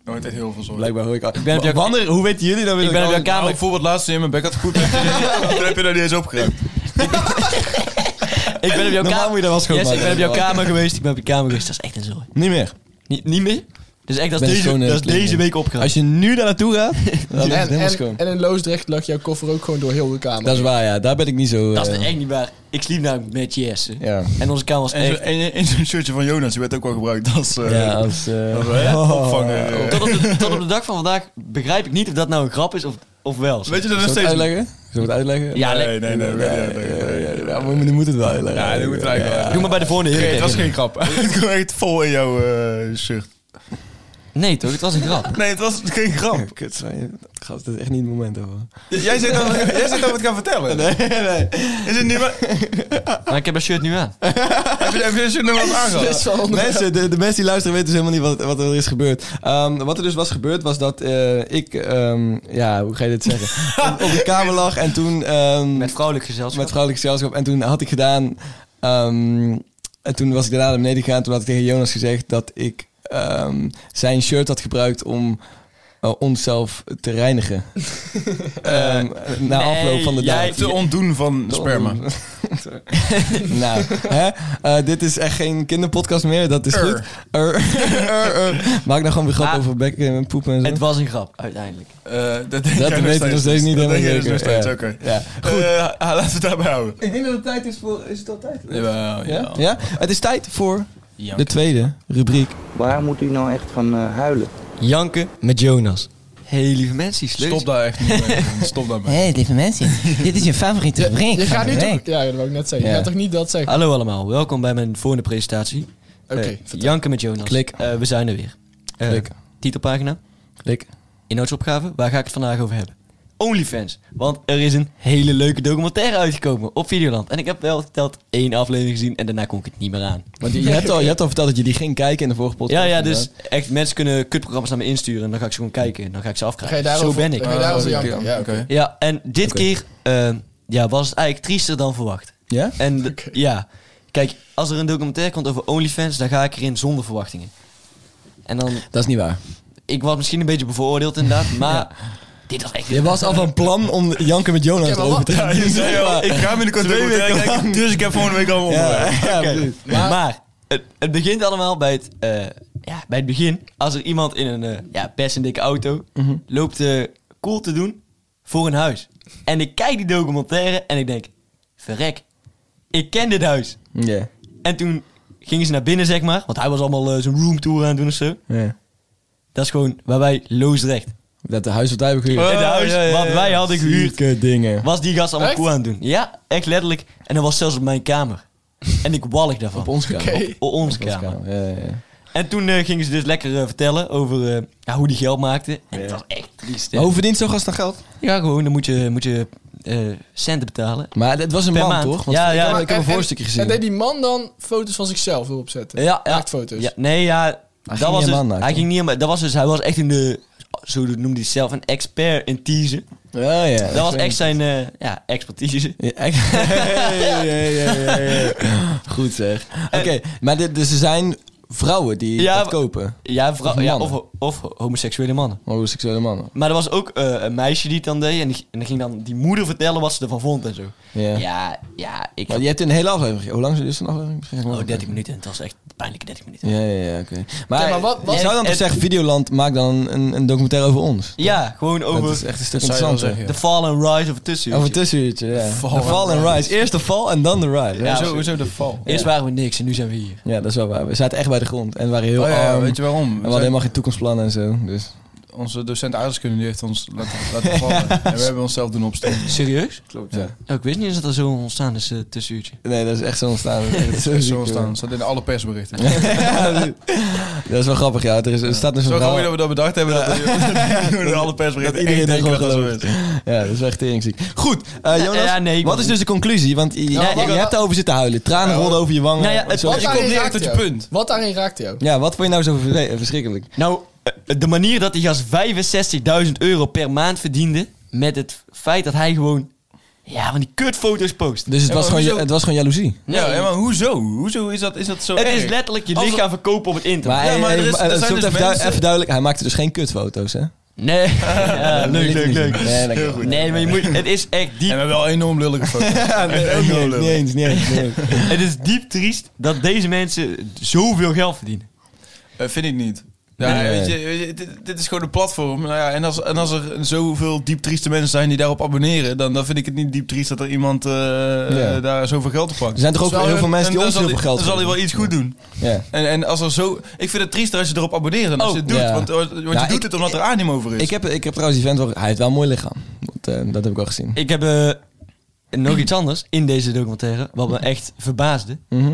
C: Nooit echt heel veel zorgen.
B: blijkbaar hoor ik al.
D: ben op jouw-
B: Wanneer, hoe weten jullie nou weer
D: Ik
B: dat
D: ben op jouw
B: altijd-
D: kamer.
C: Nou, bijvoorbeeld laatst in mijn bek had
B: <laughs>
C: <laughs> goed. Toen heb je dat niet eens opgeruimd.
D: Nou, Ik ben op jouw
B: Normaal
D: kamer...
B: moet je dat wel schoonmaken.
D: Yes, ik ben op jouw kamer geweest, ik ben op je kamer geweest. Dat is echt een zooi.
B: Niet meer.
D: Niet, niet meer? Dus echt, dat
B: Ben
D: is
B: ik
D: deze,
B: gewoon, eh,
D: dat is
B: clean,
D: deze
B: man.
D: week opgegaan.
B: Als je nu daar naartoe <laughs> gaat, dan is het
E: En,
B: helemaal
E: en,
B: schoon.
E: en in Loosdrecht lag jouw koffer ook gewoon door heel de kamer.
B: Dat is waar, ja. Daar ben ik niet zo...
D: Dat is
B: eh,
D: echt niet waar. Ik sliep namelijk met Jesse.
B: Ja.
D: En onze kamer was
C: En, zo,
D: echt...
C: en, en zo'n shirtje van Jonas, die werd ook wel gebruikt als, eh <laughs>
B: Ja, Oh. als... eh,
C: als, eh, opvanger. eh.
D: Tot op, de, tot op de dag van vandaag begrijp ik niet of dat nou een grap is of, of wel.
C: Weet je dat nog
B: Zullen we het
C: steeds?
B: uitleggen? Zullen we het uitleggen?
D: Ja,
C: nee, nee, nee. nee, nee, nee, nee.
B: Ja, maar we moeten het wel uitleggen.
C: Ja, dat moet Ah, het eigenlijk wel.
D: Doe maar bij de volgende
C: Nee,
D: heren.
C: het was geen grap. Het kwam echt vol in jouw eh, shirt.
D: Nee toch, het was een grap.
C: Nee, het was geen grap.
B: Kut, sorry. Gast, dat is echt niet het moment hoor.
C: Jij zit over, jij zit over het gaan vertellen. Nee, nee. Is het niet waar?
D: Maar ik heb dat shirt nu aan.
C: Heb je, heb je er nog wat aangehad?
B: Mensen, de, de mensen die luisteren weten dus helemaal niet wat, wat er is gebeurd. Ehm, wat er dus was gebeurd was dat eh, ik, ehm, ja, hoe ga je dit <laughs> zeggen? op, op de kamer lag en toen... ehm,
D: Met vrouwelijk gezelschap.
B: met vrouwelijk gezelschap. En toen had ik gedaan... ehm, en toen was ik daarna naar beneden gegaan. Toen had ik tegen Jonas gezegd dat ik ehm, zijn shirt had gebruikt om... eh, onszelf te
D: <laughs>
B: reinigen. Ehm, na
D: nee,
B: afloop van de dag.
D: jij
C: Te ontdoen van sperma. <laughs>
D: <laughs>
B: nou, hè? Eh, dit is echt geen kinderpodcast meer. Dat is
C: Ur.
B: goed. Ur. <laughs>
C: Eh,
B: Ur, ur. Maak nou gewoon weer grap
D: Ah.
B: over bekken en poepen en zo.
D: Het was een grap, uiteindelijk.
C: Eh, dat denk
B: Dat
C: jij
B: weten we nog steeds niet
C: Dat
B: helemaal
C: denk jij dus
B: zeker.
C: nog steeds,
B: Ja.
C: oké.
B: Ja.
C: Eh, ah, laten we het daarbij houden.
B: Ik denk dat het tijd is voor... Is het al tijd?
C: Jawel,
B: Ja? ja? Het is tijd voor
C: Jank.
B: de tweede rubriek.
G: Waar moet u nou echt van eh, huilen?
D: Janken met Jonas. Hey lieve mensen, die
C: Stop daar echt niet mee. Stop daarmee.
H: Hé, lieve mensen, dit is je favoriete rubriek.
E: Je
H: van
E: gaat
H: de
E: nu
H: week.
E: toch... Ja, dat wou ik net zeggen. Je
B: Ja.
E: gaat toch niet dat zeggen?
D: Hallo allemaal, welkom bij mijn volgende presentatie.
E: Oké.
D: Eh, Janken met Jonas.
B: Klik.
D: Eh, we zijn er weer. Eh,
B: Klik.
D: Titelpagina,
B: Klik.
D: inhoudsopgave, waar ga ik het vandaag over hebben? OnlyFans. Want er is een hele leuke documentaire uitgekomen op Videoland. En ik heb wel geteld één aflevering gezien en daarna kon ik het niet meer aan.
B: Want je, je hebt al, je hebt al verteld dat je die ging kijken in de vorige podcast.
D: Ja, ja,
B: inderdaad.
D: dus echt, mensen kunnen kutprogramma's naar me insturen en dan ga ik ze gewoon kijken en dan ga ik ze
E: Ga je
D: afkrijgen. Zo
E: daarover,
D: ben ik.
E: Ga je daarover
C: Ah,
E: janken?
C: oké.
E: Ja,
C: Oké.
E: oké.
D: Ja, en dit keer eh, ja, was het eigenlijk triester dan verwacht.
B: Ja?
D: En d-
E: Oké.
D: ja, kijk, als er een documentaire komt over OnlyFans, dan ga ik erin zonder verwachtingen. En dan,
B: Dat is niet waar.
D: ik was misschien een beetje bevooroordeeld
E: <laughs>
D: inderdaad, maar dit was echt...
B: Je was al van plan om Janke met Jonas
E: Ja, maar
B: te
E: wat-
B: overtuigen.
C: je zei al, ik ga binnenkort
B: Twee
C: documentaire
B: weken
C: kijken,
B: lang.
C: Dus ik heb volgende week allemaal
B: Ja,
C: onderwerpen.
B: ja,
D: Oké,
B: precies.
D: Maar, het, het begint allemaal bij het, eh, ja, bij het begin. Als er iemand in een eh, ja, best een dikke auto
B: Mhm.
D: loopt eh, cool te doen voor een huis. En ik kijk die documentaire en ik denk, verrek, ik ken dit huis.
B: Ja.
D: En toen gingen ze naar binnen, zeg maar. Want hij was allemaal eh, zijn roomtour aan het doen of zo.
B: Ja.
D: Dat is gewoon waar wij loosrecht.
B: Dat de huis wat hij gehuurd.
D: het huis wat wij hadden gehuurd,
B: Zieke dingen.
D: was die gast allemaal
E: Echt?
D: cool aan het doen. Ja, echt letterlijk. En dat was zelfs op mijn kamer. En ik wallig daarvan.
B: Op ons kamer.
E: Oké.
D: Op onze
B: Op ons
D: kamer.
B: kamer, Ja, ja, ja.
D: En toen eh, gingen ze dus lekker eh, vertellen over eh, ja, hoe die geld maakte. En het was echt triest. hè.
B: Maar hoe verdient zo'n gast dan geld?
D: Ja, gewoon, dan moet je, moet je eh, centen betalen.
B: Maar het was een
D: Per
B: man,
D: maand.
B: toch? Want
D: Ja,
B: ik
D: ja.
B: heb-
E: Maar-
B: Ik heb een
E: en- en-
B: voorstukje gezien.
E: En deed die man dan foto's van zichzelf erop zetten?
D: Ja, ja.
E: Naaktfoto's.
D: Ja, nee, ja.
B: ging
D: dat
B: niet
D: was dus,
B: helemaal naakt,
D: hij
B: hoor.
D: ging niet helemaal- Dat was dus, hij was echt in de, zo noemde hij het zelf, een expert in teasen.
B: Oh, Ja, ja.
D: Dat was
B: weet
D: echt zijn eh, ja, expertise.
B: Ja, echt. Ja, ja, ja, ja, ja. Goed zeg. Oké, maar dit, dus er zijn vrouwen die
D: Ja,
B: dat
D: w-
B: kopen.
D: Ja, vooral,
B: Of
D: ja,
B: mannen.
D: of, of homoseksuele mannen.
B: Homoseksuele mannen.
D: Maar er was ook eh, een meisje die het dan deed. En, die, en dan ging dan die moeder vertellen wat ze ervan vond en zo.
B: Ja.
D: Ja, ja, ik...
B: Maar je hebt een hele aflevering. Hoe lang is een aflevering? Misschien
D: oh, 30 minuten. Het was echt een pijnlijke 30 minuten.
B: Ja, ja, ja, oké. Maar,
E: Kijk, maar wat- wat-
B: je zou dan
D: en-
B: toch zeggen, Videoland, maak dan een, een documentaire over ons.
D: Ja, gewoon
B: Dat
D: over
B: is echt een stuk
C: Dat zou je wel zeggen,
B: interessanter.
D: The Fall and Rise of a Tussie.
B: Over tussenuurtje, ja. De
C: Fall
B: fall
C: and
B: and rise. Eerst de fall en dan de rise.
D: Ja,
B: Ja.
C: Hoezo, hoezo de val?
D: Eerst waren we niks en nu zijn we hier.
B: ja, dat is wel waar. We zaten echt bij de grond en waren heel
C: Oh ja,
B: arm.
C: weet je waarom?
B: en we hadden helemaal geen toekomstplannen en zo. Dus.
C: Onze docent aardrijkskunde die heeft ons laten,
B: <laughs>
C: laten vallen. En we hebben onszelf doen opstaan.
D: Serieus?
B: Klopt, ja.
D: Oh, ik wist niet eens dat er zo ontstaan is eh tussenuurtje.
B: Nee, dat is echt zo ontstaan. Dat is zo ziek,
C: Zo
B: hoor. <laughs>
C: staan. Staat in alle persberichten.
B: dat is wel grappig, ja. Er, is, er staat dus een
C: Zo
B: verhaal-
C: gewoon dat we <laughs> dat bedacht hebben. Dat,
B: <laughs>
C: we dat in alle persberichten
B: dat iedereen
C: één
B: dat
C: denkt
B: gewoon
C: dat
B: gelooft.
C: zo is.
B: Ja, dat is wel echt teringziek. Goed, eh,
D: Ja,
B: Jonas,
D: ja, nee, ik
B: wat
D: wil-
B: is dus de conclusie? Want je,
E: Ja,
B: je-
E: ik
B: je
E: wil-
B: hebt daarover zitten huilen. Tranen rollen over je wangen.
D: Nou ja, het-
B: Zo-
E: Wat
C: Je komt
E: daarin
C: niet echt
E: raakte
C: tot je
E: jou?
C: punt.
E: Wat daarin raakte jou?
B: ja, wat vond je nou zo verve- verschrikkelijk?
D: Nou, eh, de manier dat die gast 65.000 euro per maand verdiende... met het feit dat hij gewoon... Ja, van die kutfoto's post.
B: Dus het,
C: Ja,
B: was,
C: maar
B: gewoon, je-
C: hoezo-
B: het was gewoon jaloezie.
D: Nee.
C: Ja, hè, maar hoezo? Hoezo is dat, is dat zo
D: het
C: erg?
D: is letterlijk je
C: Als-
D: lichaam verkopen op het internet.
B: Maar,
C: Ja,
B: hij-
C: maar
B: hij-
C: er is-
B: hij-
C: er zijn
B: zoekt
C: dus
B: even, du-
C: mensen-
B: even duidelijk, hij maakte dus geen kutfoto's, <laughs> hè?
D: Nee. <laughs> Ja, leuk, leuk, leuk.
B: Nee, dank je wel.
D: Nee, maar je moet, het is echt
C: En we
D: diep,
C: hebben wel enorm
B: <laughs>
C: lullige foto's.
B: Ja, nee,
C: Echt
B: ook niet
C: heel
B: eens,
C: lullig.
B: niet eens, niet eens, niet <laughs> eens.
D: <laughs> het is diep triest dat deze mensen zoveel geld verdienen.
C: Eh, vind ik niet. Ja,
B: Nee.
C: weet je, weet je, dit, dit is gewoon een platform. Nou ja, en, als, en als er zoveel diep trieste mensen zijn die daarop abonneren, dan, dan vind ik het niet diep triest dat er iemand eh, eh, daar zoveel geld op pakt.
B: Er zijn toch ook heel veel mensen die ons heel veel geld
C: Dan zal hij wel
B: geven?
C: iets goed doen.
B: Ja.
C: En, en als er zo, ik vind het triester als je erop abonneert dan als
D: Oh,
C: je het doet.
B: ja.
C: Want, want je
B: Ja,
C: doet
B: ik-
C: het omdat er animo over is.
B: Ik heb, ik heb trouwens die vent wel... Hij heeft wel een mooi lichaam. Dat, eh, dat heb ik al gezien.
D: Ik heb eh, nog iets anders in deze documentaire, wat me echt verbaasde.
B: Mhm.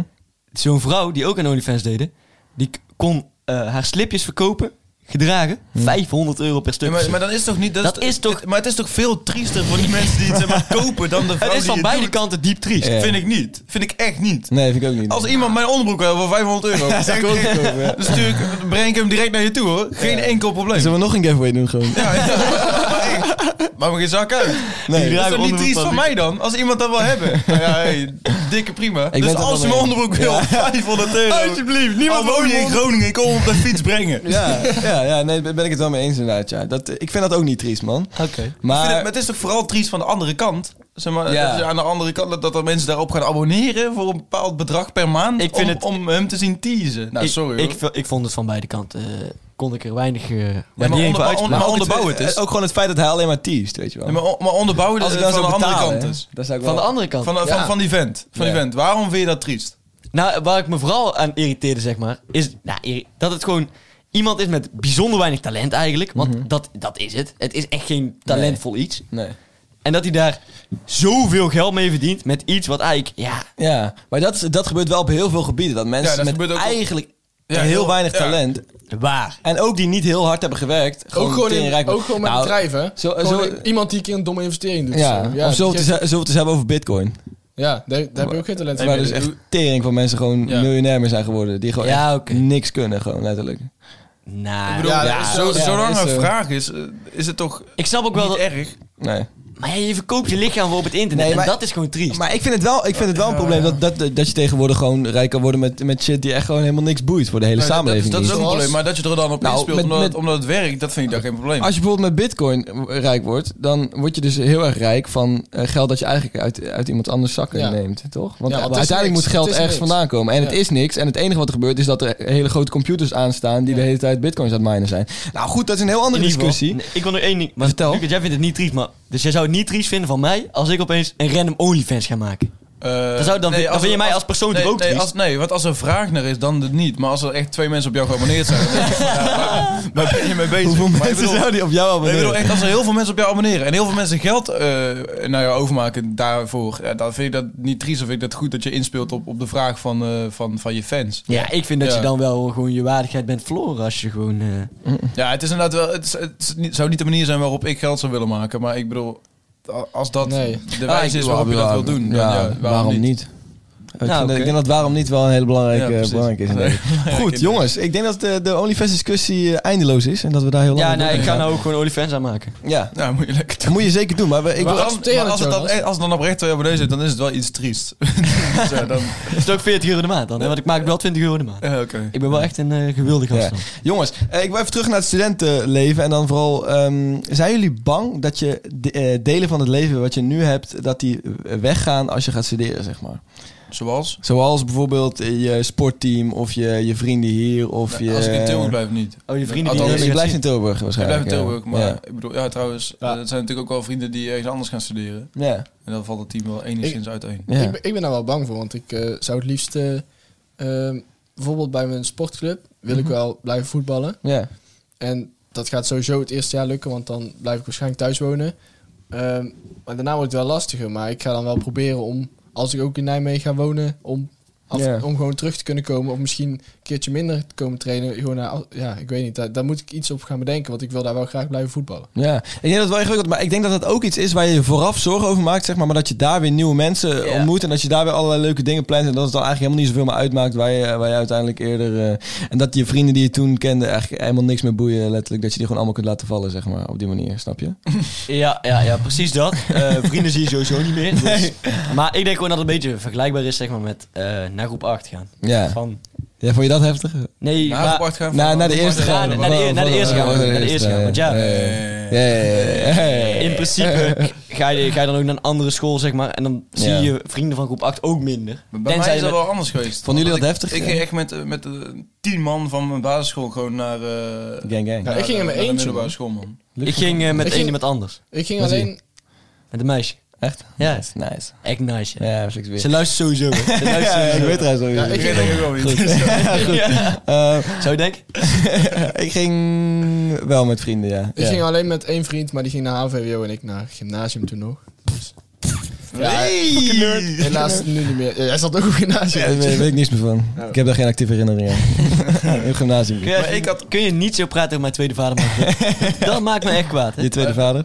D: Zo'n vrouw die ook aan OnlyFans deden, die k- kon eh, haar slipjes verkopen, gedragen, 500 euro per
C: Ja,
D: stuk.
C: maar, maar dan is toch niet...
D: Dat is toch-
C: Maar het is toch veel triester voor die mensen die het zeg
B: <laughs>
C: maar, kopen dan de vrouw
D: het is
C: die
D: van beide
C: doet?
D: kanten diep triest.
B: Ja.
C: Vind ik niet. Vind ik echt niet.
B: Nee, vind ik eh. ook niet. <laughs>
C: Als iemand mijn onderbroek wil voor 500 euro, dan, zeg ik, dan stuur ik, dan breng ik hem direct naar je toe hoor. Geen enkel probleem.
B: Zullen we nog een giveaway doen gewoon?
C: Ja, ja. Maar ik- Maak me geen zak uit.
B: Nee.
C: Dat is
D: Draag
C: toch niet
D: onderbroek
C: triest
D: van
C: van
D: die-
C: mij dan? Als iemand dat wil hebben. Nou ja, hey, dikke prima.
B: ben
C: dus
B: het er
C: als je
B: wel
C: mijn
B: mee.
C: onderbroek wil, <laughs> 500 euro.
D: Alsjeblieft, niemand
C: Al woon je in Groningen, ik kom hem op de fiets brengen.
B: <laughs> Ja, ja, ja, nee, daar ben ik het wel mee eens inderdaad. Ja. Dat, eh, ik vind dat ook niet triest, man.
D: Oké.
C: Ik vind het, maar
B: Maar
C: het is toch vooral triest van de andere kant? Zeg maar,
B: Ja.
C: dat je aan de andere kant dat, dat er mensen daarop gaan abonneren voor een bepaald bedrag per maand
D: Ik
C: om,
D: vind het-
C: om hem te zien teasen. Nou,
D: Ik-
C: sorry.
D: Ik,
C: hoor.
D: v- ik vond het van beide kanten, eh, kon ik er weinig eh
C: maar
D: waardering voor
C: onderbouw-
D: uitspreken.
C: maar
B: ook
C: onderbouw het is.
B: eh, Ook gewoon het feit dat hij alleen maar teest, weet je wel.
C: Nee, maar, on- maar onderbouwen
B: Als
C: dat
B: ik dan
C: van de
B: zou
C: andere
B: betalen,
C: kant
B: hè,
C: is.
B: dan zou ik
D: Van de
B: wel-
D: andere kant.
C: Van, van,
E: Ja.
C: van die vent. Van
B: Ja.
C: die vent. Waarom vind je dat triest?
D: Nou, waar ik me vooral aan irriteerde, zeg maar, is nou, irri- dat het gewoon iemand is met bijzonder weinig talent eigenlijk. Want dat, dat is het. Het is echt geen talentvol iets.
B: Mhm. Nee.
D: En dat hij daar zoveel geld mee verdient met iets wat eigenlijk, ja,
B: Ja, maar dat, is- dat gebeurt wel op heel veel gebieden. Dat
C: Ja,
B: mensen
C: dat
B: met
C: gebeurt ook op-
B: eigenlijk
C: Ja,
B: heel,
C: heel-
B: weinig
C: ja.
B: talent.
D: Waar?
B: En ook die niet heel hard hebben gewerkt.
E: Ook gewoon, in,
B: teringrijke-
E: ook gewoon met
B: Nou,
E: bedrijven. hè?
B: zo-
E: Gewoon
B: zo-
E: iemand die een keer een domme investering doet.
B: Ja,
E: zo. ja,
B: of zullen we
E: die
B: het eens- zullen we het eens hebben over bitcoin?
E: ja daar, daar heb je ook geen talent voor.
B: Waar dus echt tering van mensen gewoon
E: Ja.
B: miljonair mee zijn geworden. Die gewoon
D: Ja,
B: echt
D: oké.
B: niks kunnen, gewoon letterlijk.
C: Ik
D: Nou, ik,
C: bedoel,
E: Ja,
C: ja,
E: dat is
C: zo,
E: wel- ja,
C: zolang
B: dat is
C: er een
B: zo.
C: vraag is, eh, is het toch
D: snap ook wel
C: niet
D: dat...
C: erg? Nou,
B: Nee.
D: Maar ja, je verkoopt je lichaam voor op het internet.
B: Nee, maar-
D: en dat is gewoon triest.
B: Maar ik vind het wel, ik vind het wel een probleem dat, dat, dat je tegenwoordig gewoon rijk kan worden met, met shit die echt gewoon helemaal niks boeit voor de hele
C: Nee, dat-
B: samenleving.
C: Dat, is- dat is ook
B: niet.
C: een probleem. Maar dat je er dan op
B: Nou,
C: inspeelt
B: met-
C: omdat,
B: met-
C: het- omdat het werkt, dat vind ik daar geen <laughs> probleem.
B: Als je bijvoorbeeld met bitcoin rijk wordt, dan word je dus heel erg rijk van eh, geld dat je eigenlijk uit, uit iemand anders zakken
E: Ja.
B: neemt, toch? Want
E: Ja, het is
B: uiteindelijk
E: niks.
B: moet geld
E: Het is
B: ergens
E: niks.
B: vandaan komen. En het
E: Ja.
B: is niks. En het enige wat er gebeurt is dat er hele grote computers aanstaan die de hele tijd bitcoins aan het minen zijn. Nou goed, dat is een heel andere
D: In ieder geval-
B: discussie.
D: Nee, ik wil nog één ding. Maar
B: Vertel.
D: Lucas, jij vindt het niet triest, maar... Dus jij zou het niet triest vinden van mij als ik opeens een random OnlyFans ga maken.
C: Eh,
D: Dan zou- dan vind- dan
C: als
D: vind je
C: er-
D: mij als persoon
C: nee,
D: toch ook
C: nee,
D: triest?
C: als, nee, want als er vraag naar is, dan het niet. Maar als er echt twee mensen op jou geabonneerd zijn, dan denk ik van, ja, waar, waar ben je mee bezig?
B: Hoeveel
C: Maar ik
B: mensen
C: bedoel-
B: zouden die op jou
C: Nee, ik
B: abonneren?
C: bedoel, echt, als er heel veel mensen op jou abonneren en heel veel mensen geld eh, naar jou overmaken daarvoor, ja, dan vind ik dat niet triest. Of vind ik dat goed dat je inspeelt op, op de vraag van, eh, van, van je fans.
D: Ja, ik vind dat
C: Ja.
D: je dan wel gewoon je waardigheid bent verloren als je gewoon... eh,
C: Ja, het is inderdaad wel. Het, is- het is niet- zou niet de manier zijn waarop ik geld zou willen maken, maar ik bedoel, a- als dat
E: Nee.
B: Ah,
C: de wijze is waarop je dat wil doen, dan, ja, waarom, niet? <laughs>
B: Ik, vind
D: Nou,
B: dat-
D: oké.
B: ik denk dat waarom niet wel een hele belangrijke,
C: Ja, precies.
B: belangrijke is.
C: Nee.
B: Goed, jongens. Ik denk dat de, de OnlyFans-discussie eh, eindeloos is. En dat we daar heel lang
D: Ja,
B: over
D: nee, ik
B: kunnen
D: ga
B: gaan.
D: nou ook gewoon OnlyFans aanmaken.
B: Ja,
C: Nou, moet je lekker.
B: dat moet je zeker doen. Maar we- ik
C: Maar
B: wil...
C: als,
E: accepteren
C: maar als, het
E: het,
C: dan,
E: Jonas.
C: als dan oprecht twee abonnees zit, dan is het wel iets triest. <laughs> Dus ja,
B: <laughs>
C: dan,
D: Het <laughs> is ook 40 euro de maand dan, hè? want ik maak wel 20 euro de maand.
C: eh, oké.
D: Ik ben wel echt een eh, gewilde gast
B: Ja.
D: dan.
B: Jongens, eh, ik wil even terug naar het studentenleven. En dan vooral, ehm, zijn jullie bang dat je de- eh, delen van het leven wat je nu hebt, dat die eh, weggaan als je gaat studeren, zeg maar?
C: Zoals?
B: Zoals bijvoorbeeld eh, je sportteam of je, je vrienden hier of je...
C: Nou, Als ik in Tilburg blijf, niet.
D: Oh, je vrienden die...
C: Althans,
B: Ja,
D: die-
B: je blijft in Tilburg
C: Ik blijf
B: waarschijnlijk.
C: in Tilburg,
B: ja.
C: maar
B: Ja.
C: ik bedoel, ja, trouwens,
E: Ja.
C: eh, het zijn natuurlijk ook wel vrienden die ergens anders gaan studeren.
B: Ja.
C: En dan valt het team wel enigszins uiteen.
B: Ja.
E: Ik, ben- ik ben daar wel bang voor, want ik eh, zou het liefst... eh, ehm, bijvoorbeeld bij mijn sportclub wil
B: Mhm.
E: ik wel blijven voetballen.
B: Ja.
E: En dat gaat sowieso het eerste jaar lukken, want dan blijf ik waarschijnlijk thuis wonen. Ehm, maar daarna wordt het wel lastiger. Maar ik ga dan wel proberen om, als ik ook in Nijmegen ga wonen, om, af,
B: Ja.
E: om gewoon terug te kunnen komen. Of misschien een keertje minder te komen trainen. Gewoon naar, ja, ik weet niet. Daar, daar moet ik iets op gaan bedenken, want ik wil daar wel graag blijven voetballen.
B: Ja, ik denk dat het wel ingewikkeld maar ik denk dat dat ook iets is waar je je vooraf zorgen over maakt, zeg maar, maar dat je daar weer nieuwe mensen
D: Ja.
B: ontmoet en dat je daar weer allerlei leuke dingen plant en dat het dan eigenlijk helemaal niet zoveel meer uitmaakt waar je, waar je uiteindelijk eerder... eh, en dat je vrienden die je toen kende eigenlijk helemaal niks meer boeien, letterlijk, dat je die gewoon allemaal kunt laten vallen, zeg maar, op die manier, snap je?
D: Ja, ja, ja, precies <laughs> dat. Eh, vrienden zie je sowieso niet meer. dus- Maar ik denk gewoon dat het een beetje vergelijkbaar is zeg maar, met eh, naar groep 8 gaan.
B: Ja.
D: Van,
B: Ja, vond je dat heftig?
D: nee,
C: Naar
D: maar-
C: apart gaan
B: Na,
C: van-
B: naar de
C: van-
B: eerste
C: van-
D: gaan.
B: gaan.
D: naar de- naar de eerste gaan.
B: Ja,
D: Naar de eerste gaan, want ja.
B: Ja, ja, ja, ja, ja, ja.
D: in principe <laughs> ga je, ga je dan ook naar een andere school, zeg maar. En dan zie
B: Ja.
D: je vrienden van groep 8 ook minder.
C: Maar Bij
D: Tenzij
C: mij is
D: je
C: dat
D: met-
C: wel anders geweest.
B: Vonden jullie dat
C: Want
B: heftig?
C: Ik, ik ging echt met, eh, met eh, tien man van mijn basisschool gewoon naar... eh,
B: Gang, gang.
E: Ja, ik ging in
C: naar
E: mijn
C: de
E: eentje,
C: middelbare school, man.
D: Ik ging eh, met
E: Ik
D: één
E: ging-
D: iemand anders.
E: Ik ging
B: Wat zie je?
E: alleen...
D: Met een meisje.
B: Echt?
D: Ja.
B: Nice, Nice.
D: Echt nice, hè.
B: Ja, heb ik weer.
D: Ze luistert sowieso.
B: <laughs>
D: hè. Ze luistert
B: Ja, ik
D: sowieso.
B: weet trouwens wel wie
E: Ja,
B: het is.
C: Ik denk ook wel niet.
B: <laughs> Ja, goed. Eh,
D: Zou je denken?
B: <laughs> ik ging wel met vrienden, ja.
E: Ik
B: Ja.
E: ging alleen met één vriend, maar die ging naar HVWO en ik naar gymnasium toen nog. Dus- Ja, helaas nu niet meer. Ja, Jij zat ook op gymnasium.
B: Daar weet, weet ik niks meer van.
C: Oh.
B: Ik heb daar geen actieve herinneringen
C: <laughs>
B: aan. Een gymnasium.
D: Kun je,
C: Maar ik had-
D: kun je niet zo praten over mijn tweede vader?
B: <laughs>
D: Mark? dat maakt me echt kwaad, hè.
B: Je tweede vader?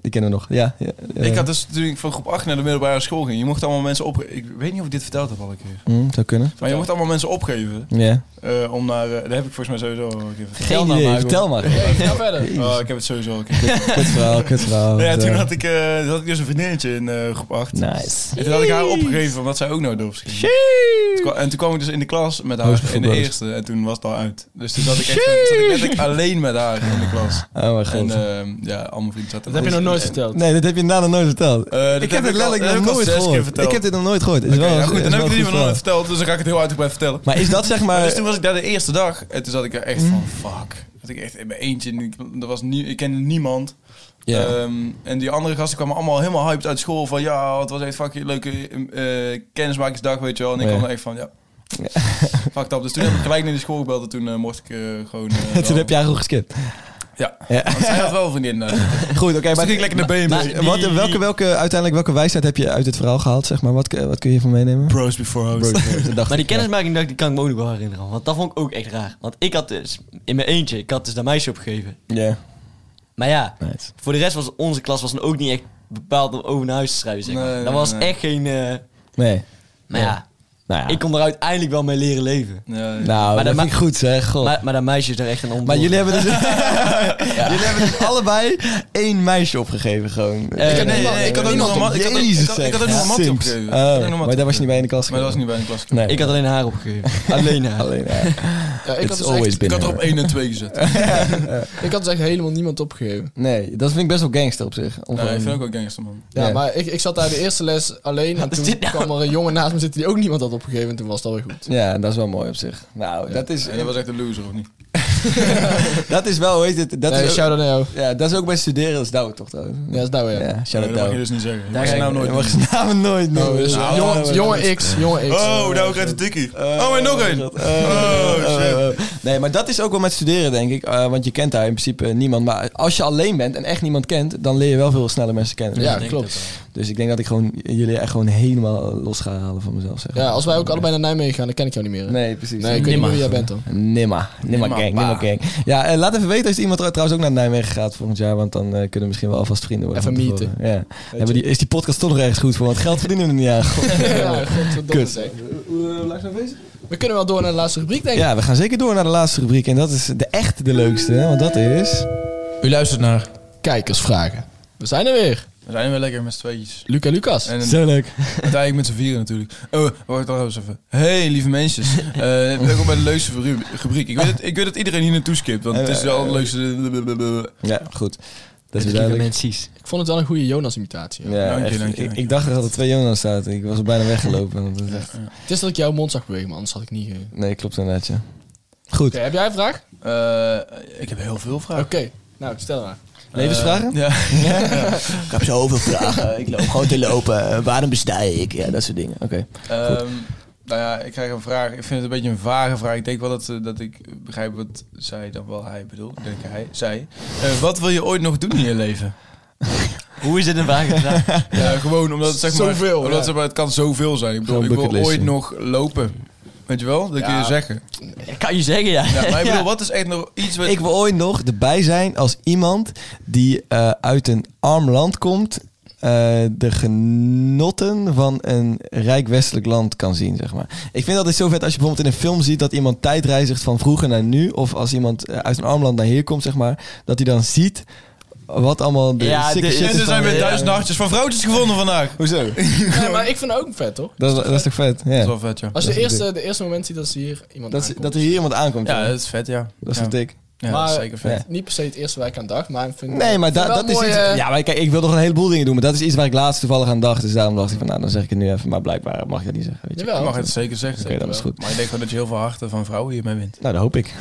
B: Die kennen we nog. Ja. ja, ja.
C: Ik had dus toen ik van groep 8 naar de middelbare school ging, je mocht allemaal mensen opgeven. Ik weet niet of ik dit verteld heb al een keer.
B: Hm, zou kunnen.
C: Maar je mocht allemaal mensen opgeven
B: Ja.
C: eh, om naar... eh, dat heb ik volgens mij sowieso al een keer verteld.
B: Geen
D: nou
B: idee.
D: maar,
B: Vertel maar.
E: Hey, ga verder.
C: Oh, ik heb het sowieso al een keer
B: Kut verhaal, kut verhaal.
C: Ja, toen
B: Zo.
C: had ik, eh, toen had ik dus een vriendinnetje in eh, groep 8.
B: Nice.
C: En toen had ik haar opgegeven omdat zij ook naar dorps ging. Toen kwa- En toen kwam ik dus in de klas met haar
B: Hoogste
C: in de
B: voorbeeld.
C: eerste. En toen was het al uit. Dus toen zat ik echt zat ik letterlijk alleen met haar in de
B: <laughs>
C: klas.
B: Oh mijn
C: En
B: god.
C: eh, ja, al mijn vrienden zaten
E: Dat heb je nog nooit verteld.
B: Nee, dit heb je inderdaad nog nooit verteld.
C: Eh, dat
B: ik
C: heb ik
B: heb dit
C: al- dat
B: letterlijk
C: heb ik
B: nog
C: al
B: nooit
C: zes keer
B: gehoord.
C: verteld.
B: Ik heb dit nog nooit gehoord. Is
C: Oké,
B: wel-
C: nou goed,
B: is
C: dan heb
B: wel
C: ik het
B: een
C: niet
B: goed
C: meer
B: verhaal.
C: verteld, dus dan ga ik het heel uitgebreid vertellen.
B: Maar is dat zeg
C: Dus toen
B: maar... Mm.
C: was ik daar de eerste dag en toen zat ik er echt van, fuck. Dat ik echt in mijn eentje, en ik- er was nie, ik kende niemand.
B: Ja.
C: Ehm, en die andere gasten kwamen allemaal helemaal hyped uit school van, ja, het was echt fucking leuke eh, kennismakingsdag, weet je wel. En ik
B: Ja.
C: kwam er echt van, ja, fuck dat. Dus toen heb ik gelijk naar die school gebeld en toen eh, mocht ik eh, gewoon... eh,
B: <laughs> Toen
C: wel-
B: heb jij gewoon geskipt.
C: Ja, want zij had wel vriendin. eh.
B: <laughs> Goed, oké.
C: Dus
B: maar
C: ging ik lekker naar BMW.
B: maar
C: Die-
B: wat, welke, welke, uiteindelijk, welke wijsheid heb je uit dit verhaal gehaald? Zeg maar? wat, wat kun je van meenemen?
C: Bros before hoes.
B: Dat dacht
D: Maar die
B: ik, ja.
D: kennismaking dacht, ik, die kan ik me ook nog wel herinneren. Want dat vond ik ook echt raar. Want ik had dus in mijn eentje, ik had dus dat meisje opgegeven.
B: Ja,
D: Maar ja,
B: nice.
D: voor de rest was onze klas was dan ook niet echt bepaald om over naar huis te schrijven. Zeg maar.
C: Nee, nee,
D: dat was
C: nee.
D: echt geen. eh,
B: Nee.
D: maar ja,
B: Nou ja.
D: ik kon er uiteindelijk wel mee leren leven.
C: Ja, ja.
B: nou,
D: dat
B: dat
D: ma-
B: vind ik goed zeg. God.
D: Maar, maar dat meisje is daar echt een onder.
B: Maar jullie hebben dus, <laughs> jullie hebben dus allebei één meisje opgegeven gewoon.
D: Eh,
C: Ik had- nee,
E: niemand-
C: nee, ik had ook
E: niemand
C: nog een man. Ik had ook- ik
B: Jezus
C: had ik had ook
B: zeg.
C: nog een mattie
B: Simps.
C: opgegeven. Ik had ook nog een
B: Oh,
C: mattie
B: maar daar was je niet bij in de klas.
C: Maar dat was
B: gekomen.
C: niet bij een klas.
B: Nee.
D: Ik had alleen haar
B: <laughs>
D: opgegeven. alleen haar.
B: alleen. Ja.
E: Ja, ik,
B: It's
E: had dus
B: always
E: echt,
B: been
C: Ik had er op
B: her.
C: 1 en 2
B: <laughs>
C: gezet.
E: ik had dus echt helemaal niemand opgegeven.
B: Nee, dat vind ik best wel gangster op zich. Om
C: Nee,
B: gewoon-
C: ik Eh, vind ik ook gangster, man.
E: Ja,
B: Ja.
E: maar ik, ik zat daar de eerste les alleen. En
D: Wat is
E: toen
D: dit nou?
E: kwam er een jongen naast me zitten die ook niemand had opgegeven. En toen was het alweer goed.
B: Ja, dat is wel mooi op zich. Nou, dat is,
C: En dat was echt een loser, of niet?
B: dat is wel, weet je, het, dat,
E: Dat nee,
B: is ook,
E: shout-out naar jou.
B: ja, dat is ook bij studeren, dat is Douwe toch trouwens.
E: Ja, dat is nou ja.
B: Ja,
C: Nee,
B: shout-out
C: dat mag je
B: Douwe.
C: dus niet zeggen.
B: Dat
C: Dat zijn nou nooit.
B: mag je namen nooit noemen.
E: dus,
B: Nou,
E: jongen,
B: nou,
E: jongen X, jongen X.
C: Oh, nou krijgt het dikkie. Oh, en nog één.
B: Eh, eh,
C: shit.
B: eh, eh. Nee, maar dat is ook wel met studeren, denk ik. eh, want je kent daar in principe niemand. Maar als je alleen bent en echt niemand kent, dan leer je wel veel sneller mensen kennen.
E: Ja,
D: denk
E: klopt.
B: Dus ik denk dat ik gewoon jullie echt gewoon helemaal los ga halen van mezelf. Zeg.
E: Ja, als wij ook allebei naar Nijmegen gaan, dan ken ik jou niet meer. hè?
B: Nee, precies.
E: nee ik weet niet meer wie jij bent dan.
B: Nimmer. Nimmer gang, nimmer gang. Ja, eh, laat even weten als iemand trouw- trouwens ook naar Nijmegen gaat volgend jaar. Want dan eh, kunnen we misschien wel alvast vrienden worden.
E: Even
B: van tevoren. Ja. Hebben die, is die podcast toch nog ergens goed voor? Want geld verdienen we er niet aan.
E: <laughs> <laughs> Ja, godverdomme
B: Kut.
E: zeg.
C: eh,
E: We kunnen wel door naar de laatste rubriek, denk ik.
B: Ja, we gaan zeker door naar de laatste rubriek. En dat is de echt de leukste. hè, Want dat is...
C: U luistert naar.
E: Kijkersvragen. We zijn er weer.
C: We zijn weer lekker met z'n tweetjes.
E: Luca Lucas.
C: En
B: Zo leuk.
C: uiteindelijk met z'n vieren natuurlijk. Oh, wacht trouwens even. Hey, lieve mensen. Eh welkom bij de leukste ru- rubriek. Ik weet, dat, ik weet dat iedereen hier naartoe skipt, want het is wel
E: Eh,
C: het leukste...
B: Ja, goed. Dat is
D: Lieve
B: duidelijk.
D: mensen.
E: Ik vond het wel een goede Jonas-imitatie. hoor.
B: Ja,
C: Dank je,
B: echt.
C: dank je,
B: ik,
C: dank je.
B: ik dacht dat er twee Jonas zaten. Ik was bijna weggelopen. Want het is echt...
E: Het is dat ik jouw mond zag bewegen, maar anders had ik niet... ge- Oké,
B: Nee, klopt inderdaad, ja. Goed.
E: heb jij een vraag?
C: Eh, ik heb heel veel vragen.
E: Oké, nou,
C: <laughs>
E: stel maar.
B: Levensvragen?
C: Ja.
H: Ik heb zoveel vragen. Ik loop gewoon te lopen. Waarom bestij ik? Ja, dat soort dingen.
B: Oké.
C: Ehm, nou ja, ik krijg een vraag. Ik vind het een beetje een vage vraag. Ik denk wel dat, eh, dat ik begrijp wat zij dan wel hij bedoelt. Ik denk hij, zij. Eh, wat wil je ooit nog doen in je leven?
D: Hoe is dit een vraag?
B: <laughs>
C: Ja, gewoon omdat het zeg maar...
E: Zoveel,
C: Omdat
E: ja.
C: zeg maar, het kan zoveel zijn. Ik bedoel,
B: Gewoon
C: ik wil
B: bucketlistje.
C: ooit nog lopen. Weet je wel? Dat kun je zeggen.
D: Dat kan je zeggen, ja.
C: Ja,
B: <laughs>
C: maar ik bedoel, wat is echt nog iets wat...
B: Ik wil ooit nog erbij zijn als iemand die eh, uit een arm land komt... eh, de genotten van een rijk westelijk land kan zien, zeg maar. Ik vind dat is zo vet als je bijvoorbeeld in een film ziet... dat iemand tijdreizigt van vroeger naar nu... of als iemand eh, uit een arm land naar hier komt, zeg maar... dat hij dan ziet wat allemaal de
D: Ja,
B: sikke
D: de-
B: shit
D: dit
C: En
B: is
C: er zijn
B: van- eh,
C: weer
D: Ja.
C: duizend hartjes van vrouwtjes gevonden vandaag. Dat
B: Hoezo?
E: Ja, maar ik vind het ook vet, toch?
B: Dat is, dat is toch vet?
C: is
B: Ja.
C: wel vet, ja.
E: Als je de
B: Dat is
E: eerste, de eerste moment ziet dat ze hier iemand
B: Dat,
E: aankomt.
B: dat er hier iemand aankomt.
C: Ja,
B: jongen.
C: dat is vet, ja.
B: dat is
C: ja.
B: toch dik?
C: Ja,
E: Maar-
C: dat is zeker vet.
B: Ja.
E: Niet per se het eerste waar ik aan dacht, maar ik vind
B: Nee, maar da-
E: Vind
B: dat
E: wel mooi,
B: is
E: eh.
B: iets... Ja, maar kijk, ik wil nog een heleboel dingen doen. Maar dat is iets waar ik laatst toevallig aan dacht. Dus daarom dacht ik van, nou, dan zeg ik het nu even. Maar blijkbaar mag je dat niet zeggen, weet je.
E: Jawel.
C: Je mag het zeker zeggen.
B: Oké, dat is goed.
C: Maar ik denk gewoon dat je heel veel harten van vrouwen hiermee wint.
B: Nou,
C: <laughs>
B: dat hoop ik.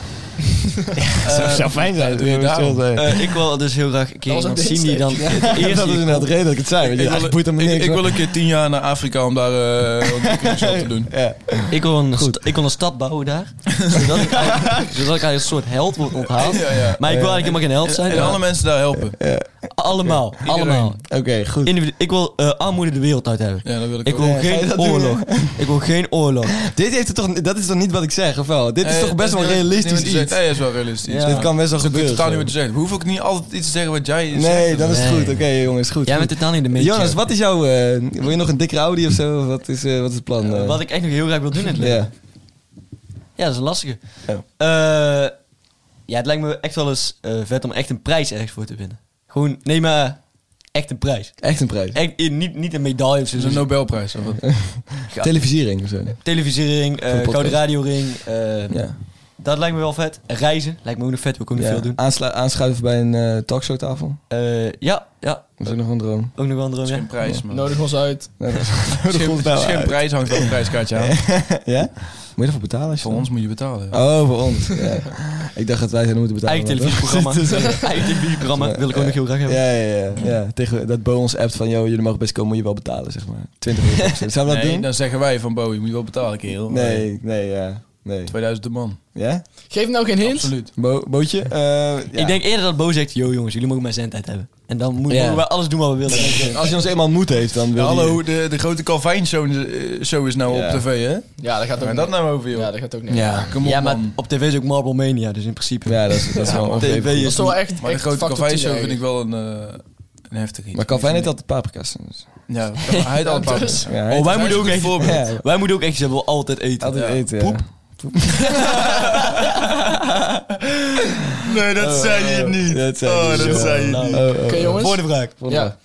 B: zou, zou fijn zijn.
C: doe je
B: natuurlijk,
C: daarom.
B: stil zijn.
D: Eh, ik wil dus heel graag een keer
E: Dat was
D: iemand
E: een
D: zien die dan
E: dingsteek.
D: het
B: Ja,
D: eerst
B: <laughs> <laughs> dat is inderdaad de reden dat ik het zei. Weet je.
C: Ik
B: Ja,
C: wil-
B: het boeit hem
C: ik,
B: niks.
C: ik
B: hoor.
C: wil een keer tien jaar naar Afrika om daar
B: <laughs>
C: eh, ontwikkelingswerk te doen.
B: Ja.
D: Ik wil, een
B: Goed.
D: sta- ik wil een stad bouwen daar. Zodat ik, eigenlijk- zodat ik eigenlijk een soort held word onthaald.
C: Ja, ja.
D: Maar ik wil eigenlijk helemaal geen held zijn.
C: En
D: maar-
C: alle mensen daar helpen.
D: allemaal. Allemaal.
B: Oké, goed.
D: Individu- ik wil eh, armoede de wereld uit hebben.
C: Ja, dat wil ik,
D: Ik
C: ook.
D: wil
B: ga je
D: geen
B: dat doen,
D: oorlog. ik wil geen oorlog.
B: Dit heeft het toch, dat is toch niet wat ik zeg, of wel? Dit is
C: Eh,
B: toch best
C: dat
B: wel
C: niet wat-
B: realistisch
C: niet wat je
B: iets?
C: zegt. Nee, dat is wel realistisch.
D: Ja.
B: Dit kan best wel
C: Ik weet totaal
B: gebeuren.
C: niet
B: gewoon.
C: wat te zeggen. Hoef ik niet altijd iets te zeggen wat jij
B: Nee,
C: zegt.
B: dan is het
D: Nee.
B: goed. Oké, jongens, goed.
D: Jij
B: goed.
D: bent totaal niet de mens.
B: Jonas, wat is jouw... eh, wil je nog een dikkere Audi of zo? Of Wat is, eh, wat is het plan? eh?
D: Wat ik echt nog heel graag wil doen in het leven.
B: Ja.
D: Ja, dat is een lastige.
B: Ja.
D: Eh, ja, het lijkt me echt wel eens eh, vet om echt een prijs ergens voor te winnen. Gewoon, nee maar echt een prijs.
B: Echt een prijs.
D: Echt, eh, niet, niet een medaille of zo.
C: Het is een Nobelprijs. Of wat?
D: Ja.
B: Televisiering of zo.
D: Televisiering,
B: Voor
D: eh,
B: een podcast.
D: gouden radioring. eh,
B: Ja.
D: Dat lijkt me wel vet. Reizen lijkt me ook nog vet. Wil ik ook nog
B: Ja.
D: veel doen.
B: Aanslu- aanschuiven bij een eh, talkshowtafel.
D: Eh, ja, ja,
B: Dat is ook nog een droom.
D: ook nog wel een droom.
C: Het is geen
D: Ja.
C: prijs, man.
E: Nodig ons uit.
B: Nee, <laughs> dat-
C: Het is geen-
B: komt
C: het is
B: nou
C: geen
B: uit.
C: prijs, hangt wel een prijskaartje aan.
B: ja? Moet je ervoor betalen? Als je
C: Voor
B: dan-
C: ons moet je betalen.
B: Oh, voor ons. Ja. Ik dacht dat wij zouden moeten betalen.
D: Eigen
B: <laughs>
D: televisieprogramma.
B: Dat is-
D: <laughs> Eigen televisieprogramma wil ik ook nog heel graag hebben.
B: Ja, ja, ja. ja. Tegen dat Bo ons appt van, joh, jullie mogen best komen, moet je wel betalen, zeg maar. 20 euro. per persoon. Zouden we dat
C: Nee,
B: doen?
C: dan zeggen wij van Bowie, moet je wel betalen, kerel.
B: Nee, nee, ja. Nee.
C: 2000 de man.
B: Ja?
E: Geef nou geen hint.
C: Absoluut.
B: Bo- bootje? Eh, ja.
D: Ik denk eerder dat Bo zegt, yo jongens, jullie mogen mijn zendtijd hebben. En dan moeten
B: Ja.
D: we alles doen wat we willen.
B: Als je ons eenmaal moet heeft, dan wil
C: Ja,
B: je-
C: hallo, de, de grote Calvijn show, eh, show is nou
B: Ja.
C: op tv, hè?
E: Ja, dat gaat ook
C: Waar dat
E: niet.
C: nou over, joh?
E: Ja, dat gaat ook niet.
B: Ja,
C: Kom op,
D: ja, maar
C: man.
D: op tv is ook Marble Mania, dus in principe.
B: ja, dat is, dat is wel
D: op
B: ongeveer.
D: tv
E: Dat
D: is
E: is wel echt,
C: Maar de
E: echt
C: grote
E: factor
C: Calvijn
E: 10
C: show vind ik
E: eigenlijk.
C: wel een, eh, een heftig iets.
B: Maar Calvin heeft altijd paprika's. dus-
C: <laughs> Ja, hij heeft al een paar.
E: Dus-
C: Ja,
B: Ja, hij
D: Oh,
B: heeft-
D: wij moeten ook
C: goed
D: echt...
C: voorbeeld.
B: Ja,
D: Wij moeten ook echt zeggen, we willen altijd eten.
B: altijd
C: Ja.
B: eten, ja.
D: Poep.
C: Nee, dat zei je niet.
B: dat zei je
C: oh, dat
B: niet.
C: zei je niet.
B: Oh, oh,
E: Oké,
B: oh.
E: jongens.
D: Voor de vraag.
E: Ja.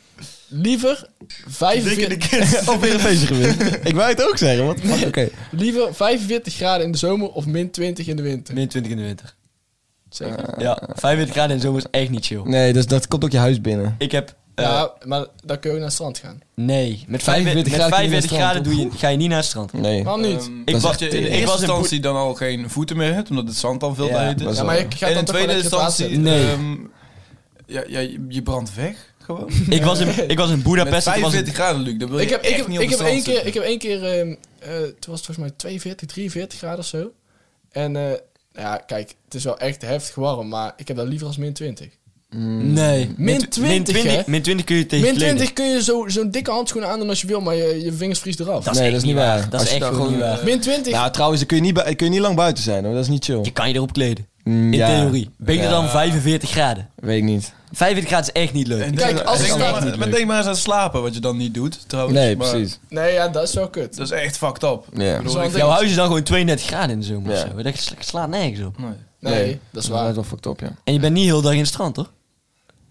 E: Liever
C: Dikke de
E: 45,
D: <laughs>
C: kids.
B: Of weer een feestje gewin. <laughs> Ik wou het ook zeggen, want... Oké.
E: liever 45 graden in de zomer of min 20 in de winter?
D: Min 20 in de winter.
E: Zeker.
B: Ah.
D: Ja, 45 graden in de zomer is echt niet chill.
B: Nee, dus dat komt ook je huis binnen.
D: Ik heb... eh,
B: Nou,
E: ja, maar dan kun je ook naar het strand gaan.
D: Nee, met
B: 45
D: 45
B: graden
D: graden,
B: kun je naar het strand,
D: doe je, ga je niet naar het
B: <laughs>
D: strand.
B: Nee.
E: Waarom niet?
D: Ik
C: Ehm, ik
D: was-
C: dat je in
D: ik
C: de
D: was in
C: eerste
D: Boer-
C: instantie dan al geen voeten meer hebt, omdat het zand dan veel
D: Ja,
C: te heet is.
B: dat is
E: ja,
B: wel-
E: maar je gaat
C: En in
E: dan toch wel
C: tweede
E: lekker op het
C: instantie,
E: water
D: Nee.
C: ehm, ja, ja, je, je brandt weg gewoon.
D: Ik was in, ik was in
C: Met
D: Budapest. en toen was het-
C: 45 graden, Luc, dat wil
E: zitten. Ik
C: je
E: heb,
C: echt
E: ik heb,
C: niet op
E: ik heb
C: het strand
E: één keer,
C: zitten.
E: ik heb één keer ehm, eh, toen was het volgens mij 42, 43 graden of zo. En eh, ja, kijk, het is wel echt heftig warm, maar ik heb dat liever als min 20.
D: Nee.
E: Min
D: tw-
E: 20,
D: min
E: hè?
D: 20, min 20 kun je tegen
E: Min
D: kleden.
E: 20 kun je zo- zo'n dikke handschoenen aandoen als je wil, maar je, je vingers vriest eraf.
D: Dat is
B: Nee,
D: echt
B: dat is
D: niet
B: niet waar.
D: waar. Dat
B: Als
D: is
B: je
D: echt
B: daar
D: gewoon niet
B: gewoon,
D: waar.
E: min 20,
B: Nou, trouwens, dan kun je niet, bui- kun je niet lang buiten zijn, hoor. Dat is niet chill.
D: Je kan je erop kleden.
B: Mm,
D: In
B: ja.
D: theorie. Beter dan 45 graden.
B: Weet ik niet.
D: 45 graden is echt niet leuk.
C: En
E: Kijk,
C: denk-
E: als
C: denk
E: het
C: maar-
E: staat-
C: maar, denk maar eens aan slapen, wat je dan niet doet, trouwens.
B: Nee,
C: Maar
B: precies.
E: nee, ja, dat is wel kut.
C: Dat is echt fucked up.
B: Ja.
C: Ik
E: Dat is
C: bedoel,
E: wel
C: ik
E: een
D: Jouw
E: ding.
D: huis is dan gewoon 32 graden in de zomer
B: Ja.
D: of zo. Dat sla- slaat nergens op.
C: nee.
E: Nee, dat is waar.
B: <laughs> Dat is wel fucked up, ja.
D: En je bent niet heel de dag in het strand, toch?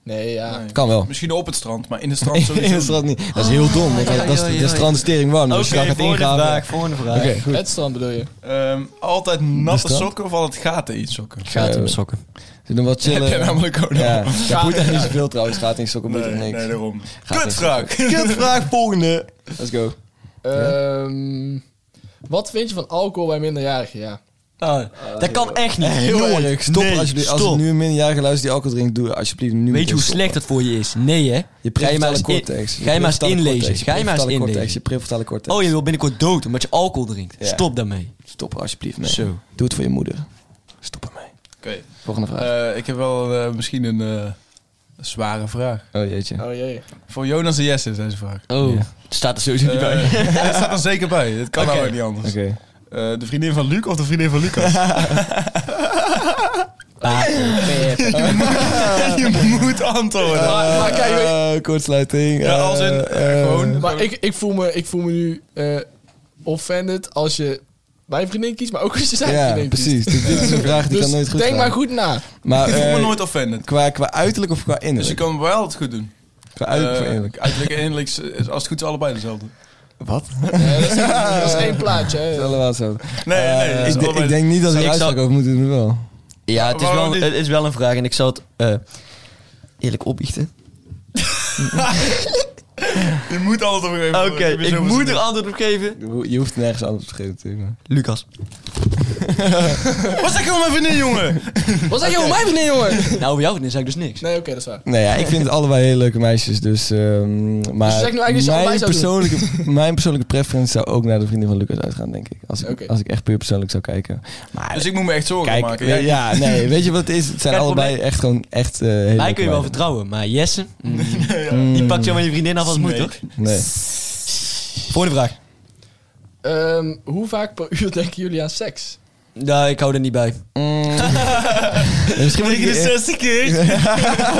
E: Nee, ja.
B: Kan wel.
C: Misschien op het strand, maar in het strand
B: <laughs> In
C: sowieso
B: het strand niet. Dat is heel dom, want
D: ja,
B: dat, dat
D: ja,
B: is,
D: ja,
B: dat is
D: ja.
B: transitering warm. Dus
D: Oké,
B: je kan het
D: volgende
B: ingaan.
D: vraag, volgende vraag.
B: Oké, goed.
E: Het strand bedoel je.
C: Ehm, altijd natte
B: dat?
C: sokken of altijd gaten in sokken?
D: Gaat hem
B: Eh,
D: sokken.
B: Ze doen wat
C: Heb jij
B: chillen.
C: namelijk ook nog.
B: <laughs> Eh, Ja, <laughs> dat boeit echt niet zoveel trouwens. Gaat in sokken, boeit
C: Nee,
B: echt
C: nee,
B: niks.
C: daarom.
B: Gaat in sokken.
C: Kutvraag.
B: Kutvraag, volgende. Let's go.
E: Ehm, wat vind je van alcohol bij minderjarigen? Ja.
D: dat kan echt niet.
B: Ah, Heel erg. Stop
D: Nee,
B: als je als
D: stop.
B: er nu een minderjarige luistert die alcohol drinkt, doe alsjeblieft nu.
D: Weet je
B: meteen
D: hoe
B: stoppen.
D: slecht dat voor je is? Nee, hè?
B: Je
D: Ga je maar eens
B: prefrontale
D: in-
B: cortex.
D: Ga je maar eens
B: prefrontale
D: inlezen.
B: cortex,
D: Ga je maar eens
B: prefrontale cortex, Je
D: inlezen.
B: prefrontale cortex.
D: Oh, je wil binnenkort dood omdat je alcohol drinkt.
B: Ja.
D: Stop daarmee.
B: Stop er alsjeblieft mee.
D: Zo.
B: Doe het voor je moeder. Stop ermee.
C: <laughs> Oké.
B: Volgende vraag.
C: Eh, ik heb wel eh, misschien een eh, zware vraag.
B: oh jeetje.
E: Oh jee.
C: Voor Jonas en Jesse is deze vraag.
D: Oh, staat er sowieso niet bij.
C: Eh, <laughs> dat staat er zeker bij. Het kan nou ook niet anders.
B: Oké.
C: Eh, de vriendin van Luc of de vriendin van Lucas? <laughs> je moet antwoorden.
E: maar, maar kijk, weet-
B: Eh, kortsluiting.
C: ja,
B: eh,
C: als in eh,
B: eh,
C: gewoon.
E: Maar ik, ik, voel me, ik voel me nu eh, offended als je mijn vriendin kiest, maar ook als je zijn
B: Ja,
E: vriendin kiest.
B: precies. Dit, dit is een vraag die
E: Dus
B: kan nooit goed
E: denk
B: gaan.
E: maar goed na.
B: Maar
C: ik voel me
B: eh,
C: nooit offended.
B: qua, qua uiterlijk of qua
C: Dus je
B: innerlijk?
C: kan wel het goed doen.
B: Qua uiterlijk of
C: Eh,
B: innerlijk?
C: uiterlijk en innerlijk is is als het goed is allebei dezelfde.
B: Wat?
E: Ja,
B: <laughs>
E: dat, is, dat is één plaatje.
B: Dat is
E: Hè.
B: allemaal zo.
C: eh, Nee,
B: Eh,
C: nee. het is
B: ik,
C: allebei-
B: ik denk niet dat we
D: Ik
B: er
D: zou-
B: uitspraak over moeten doen, wel.
D: Ja, het is,
C: Waarom
D: wel,
C: niet?
D: het is wel een vraag en ik zal het eh, eerlijk opbiechten.
C: Je moet altijd op een gegeven
D: Oké,
C: moment- je bent
D: ik
C: zo
D: moet er
C: verzoend.
D: antwoord op geven.
B: Je ho- Je hoeft nergens anders op te geven natuurlijk. maar-
D: Lucas.
C: Wat zeg je van mijn vriendin, jongen?
E: Wat zeg je over mijn vriendin, jongen?
D: <laughs> Nou, over jou zeg ik dus niks.
E: Nee, oké, dat is waar.
B: Nou ja, ik vind het
E: <laughs>
B: allebei hele leuke meisjes, dus... ehm, maar
E: zegt nu eigenlijk dat Dus je allebei
B: mijn,
E: zou doen?
B: persoonlijke,
E: <laughs>
B: mijn persoonlijke preference zou ook naar de vriendin van Lucas uitgaan, denk ik. Als ik,
E: Oké.
B: als ik echt puur persoonlijk zou kijken. Maar
C: Dus ik moet me echt zorgen
B: kijk,
C: maken. <laughs>
B: we-
C: Jij-
B: ja, nee, weet je wat het is? Het zijn
D: Kijk,
B: allebei
D: probleem-
B: echt gewoon echt eh hele
D: Mij
B: leuke
D: kun je wel
B: meiden.
D: vertrouwen, maar Jesse, mm, die pakt jou met je vriendin af als het moet, hoor.
B: Nee.
D: Volgende vraag.
E: Ehm, hoe vaak per uur <laughs> denken jullie aan seks?
D: Nou, ik hou er niet bij.
B: <laughs> Ja, Mm. Misschien moet ik
C: de
B: eh,
C: 60 keer.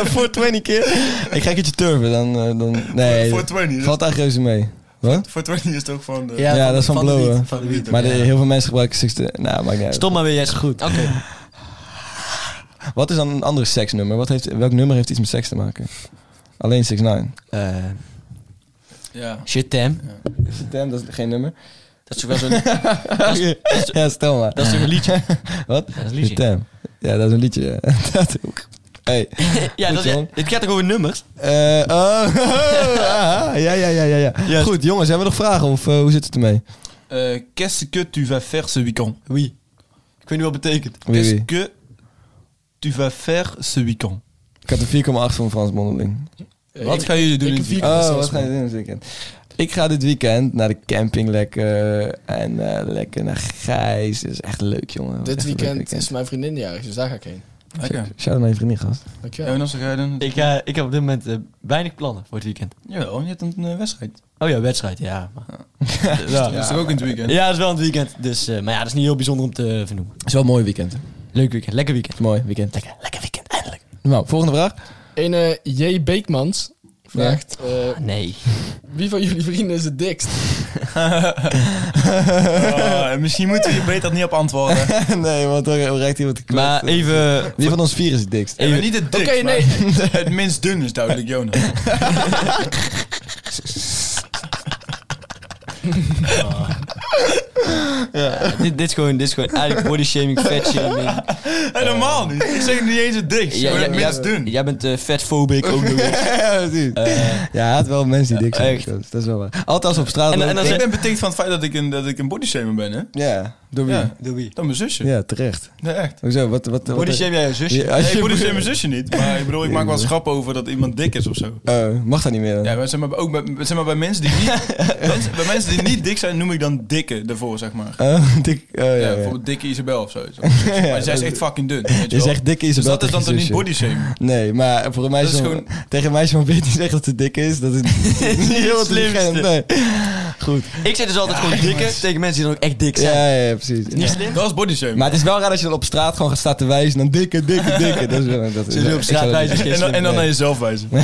B: voor 20 keer. Ik ga een keertje turven, dan... eh, dan nee,
C: Voor 20.
B: valt daar reuze mee. Wat?
C: Voor 20 is het ook van de...
B: Ja,
D: van-
B: dat is van,
D: de
B: blowen.
D: wiet, van de wiet.
B: Maar de- heel veel mensen gebruiken seks te... Nou, maakt niet uit.
D: Stop maar weer, Jesse. Goed. Oké.
B: Wat is dan een ander seksnummer? Wat heeft, welk nummer heeft iets met seks te maken? Alleen 6 9
D: Eh,
C: Ja.
D: Shit, Tam.
B: dat is geen nummer.
D: Dat is wel zo'n... <laughs> dat is-
B: <laughs> Ja, stel maar.
D: Dat is toch een liedje?
B: <laughs> Wat?
D: is een liedje.
B: Stem. Ja, dat is een liedje. ja. <laughs> dat ook. Hey.
D: Ja, dat is,
B: John.
D: het gaat toch over nummers?
B: Eh, oh, <laughs> aha, ja, ja, ja, ja, ja.
D: Juist.
B: Goed, jongens, hebben we nog vragen of eh, hoe zit het ermee?
C: Eh, Qu'est-ce que tu vas faire ce week-end?
D: Wie? Ik weet niet wat het betekent.
B: Wie,
C: Qu'est-ce
B: wie?
C: que tu vas faire ce weekend?
B: Ik had een 4,8 van Frans Mondeling.
E: Eh,
C: Wat
E: ik-
C: gaan jullie doen
E: Eh, ik
C: in
E: heb
C: het weekend?
E: vier keer
B: Oh,
E: zes,
B: wat ga je
E: man.
B: doen dit weekend? Ik ga dit weekend naar de camping lekker. En eh, lekker naar Gijs. Dat is echt leuk, jongen. Dat
E: Dit
B: is echt een leuk
E: weekend is mijn vriendin jarig, dus daar ga ik heen.
C: Lekker.
B: Shout-out naar je vriendin, gast.
E: Dankjewel.
C: Jonas, dan ga je dan...
D: Ik, eh, ik heb op dit moment eh, weinig plannen voor het weekend.
C: Jawel, je hebt een eh, wedstrijd.
D: Oh ja, wedstrijd, <laughs> ja. maar-
C: Dat is toch ook in het weekend?
D: Ja, dat is wel een weekend. Dus, eh, maar ja, dat is niet heel bijzonder om te vernoemen.
B: Het is wel een mooi weekend. Het
D: Leuk weekend, lekker weekend.
B: is een mooi weekend.
D: Lekker, lekker weekend, eindelijk.
B: Nou, volgende vraag. <laughs>
E: Een eh, J. Beekmans vraagt... eh,
D: Ah, Nee.
E: wie van jullie <laughs> vrienden is het dikst?
C: Oh, misschien moeten we <laughs> je beter niet op antwoorden.
B: nee, want dan reikt iemand te kwaad.
D: Maar even...
B: Wie van ons vier is het dikst?
C: Even, niet het dikst,
E: Oké, nee.
C: maar <laughs> het minst dun is duidelijk <laughs> Jonas.
D: <laughs> dit, dit, is gewoon, dit is gewoon eigenlijk body shaming, fat shaming. <laughs>
C: Helemaal niet. Ik zeg niet eens het dikst.
D: Ja,
C: maar
D: ja,
C: het
D: ja.
C: minst dun.
D: Jij bent eh fatphobic ook nog eens.
B: ja, precies. ja, hij had wel mensen die dik zijn.
D: echt.
B: Dat is- Dat is wel waar. Althans op straat.
D: En- en
B: lopen.
D: dan
C: Ik
D: zeg-
C: ben betikt van het feit dat ik een, dat ik een bodyshamer ben, hè?
B: Ja, door wie?
C: Ja.
B: Ja,
D: Doe wie?
C: Dan mijn zusje.
B: terecht.
C: Nee, echt.
B: Hoezo? Wat, wat, wat-
D: Body shame jij je zusje?
B: Ja, als
C: Nee,
B: je-
C: ik bodyshamer mijn zusje niet. Maar ik bedoel, ik maak wel eens grappen over dat iemand dik is of zo.
B: Eh, mag dat niet meer dan?
C: Ja, maar zeg maar, ook bij, zeg maar bij mensen die niet... mensen- bij mensen die niet dik zijn, noem ik dan dikke daarvoor, zeg maar.
B: Eh, dik, oh, <laughs> ja,
C: Ja,
B: ja,
C: bijvoorbeeld dikke Isabel of zo. maar zij is echt fucking dun. Weet je
B: Je
C: wel.
B: zegt dikke
C: dus
B: Isabel
C: dat is dan toch
B: tegen je
C: niet
B: zusje?
C: bodyshamer?
B: Nee, maar voor een meisje
C: Dat is
B: van-
C: gewoon-
B: tegen een meisje van 14 <laughs> zeggen dat ze dik is, dat is
C: <laughs>
B: niet heel slim. Nee. Goed.
D: Ik zeg dus altijd gewoon dikke tegen mensen die dan ook echt dik zijn.
B: Ja, ja, ja, precies. Ja.
C: Dat is bodyshamer.
B: Maar het is wel raar als je dan op straat gewoon gaat staan te wijzen dan dikke, dikke, dikke. Dat is wel, dat is
D: Ze doen op
B: ik zou dat
D: straat
B: niet
D: wijzen. is geen
C: <laughs> en dan, en
D: slim.
C: dan naar jezelf wijzen. <laughs> Ja,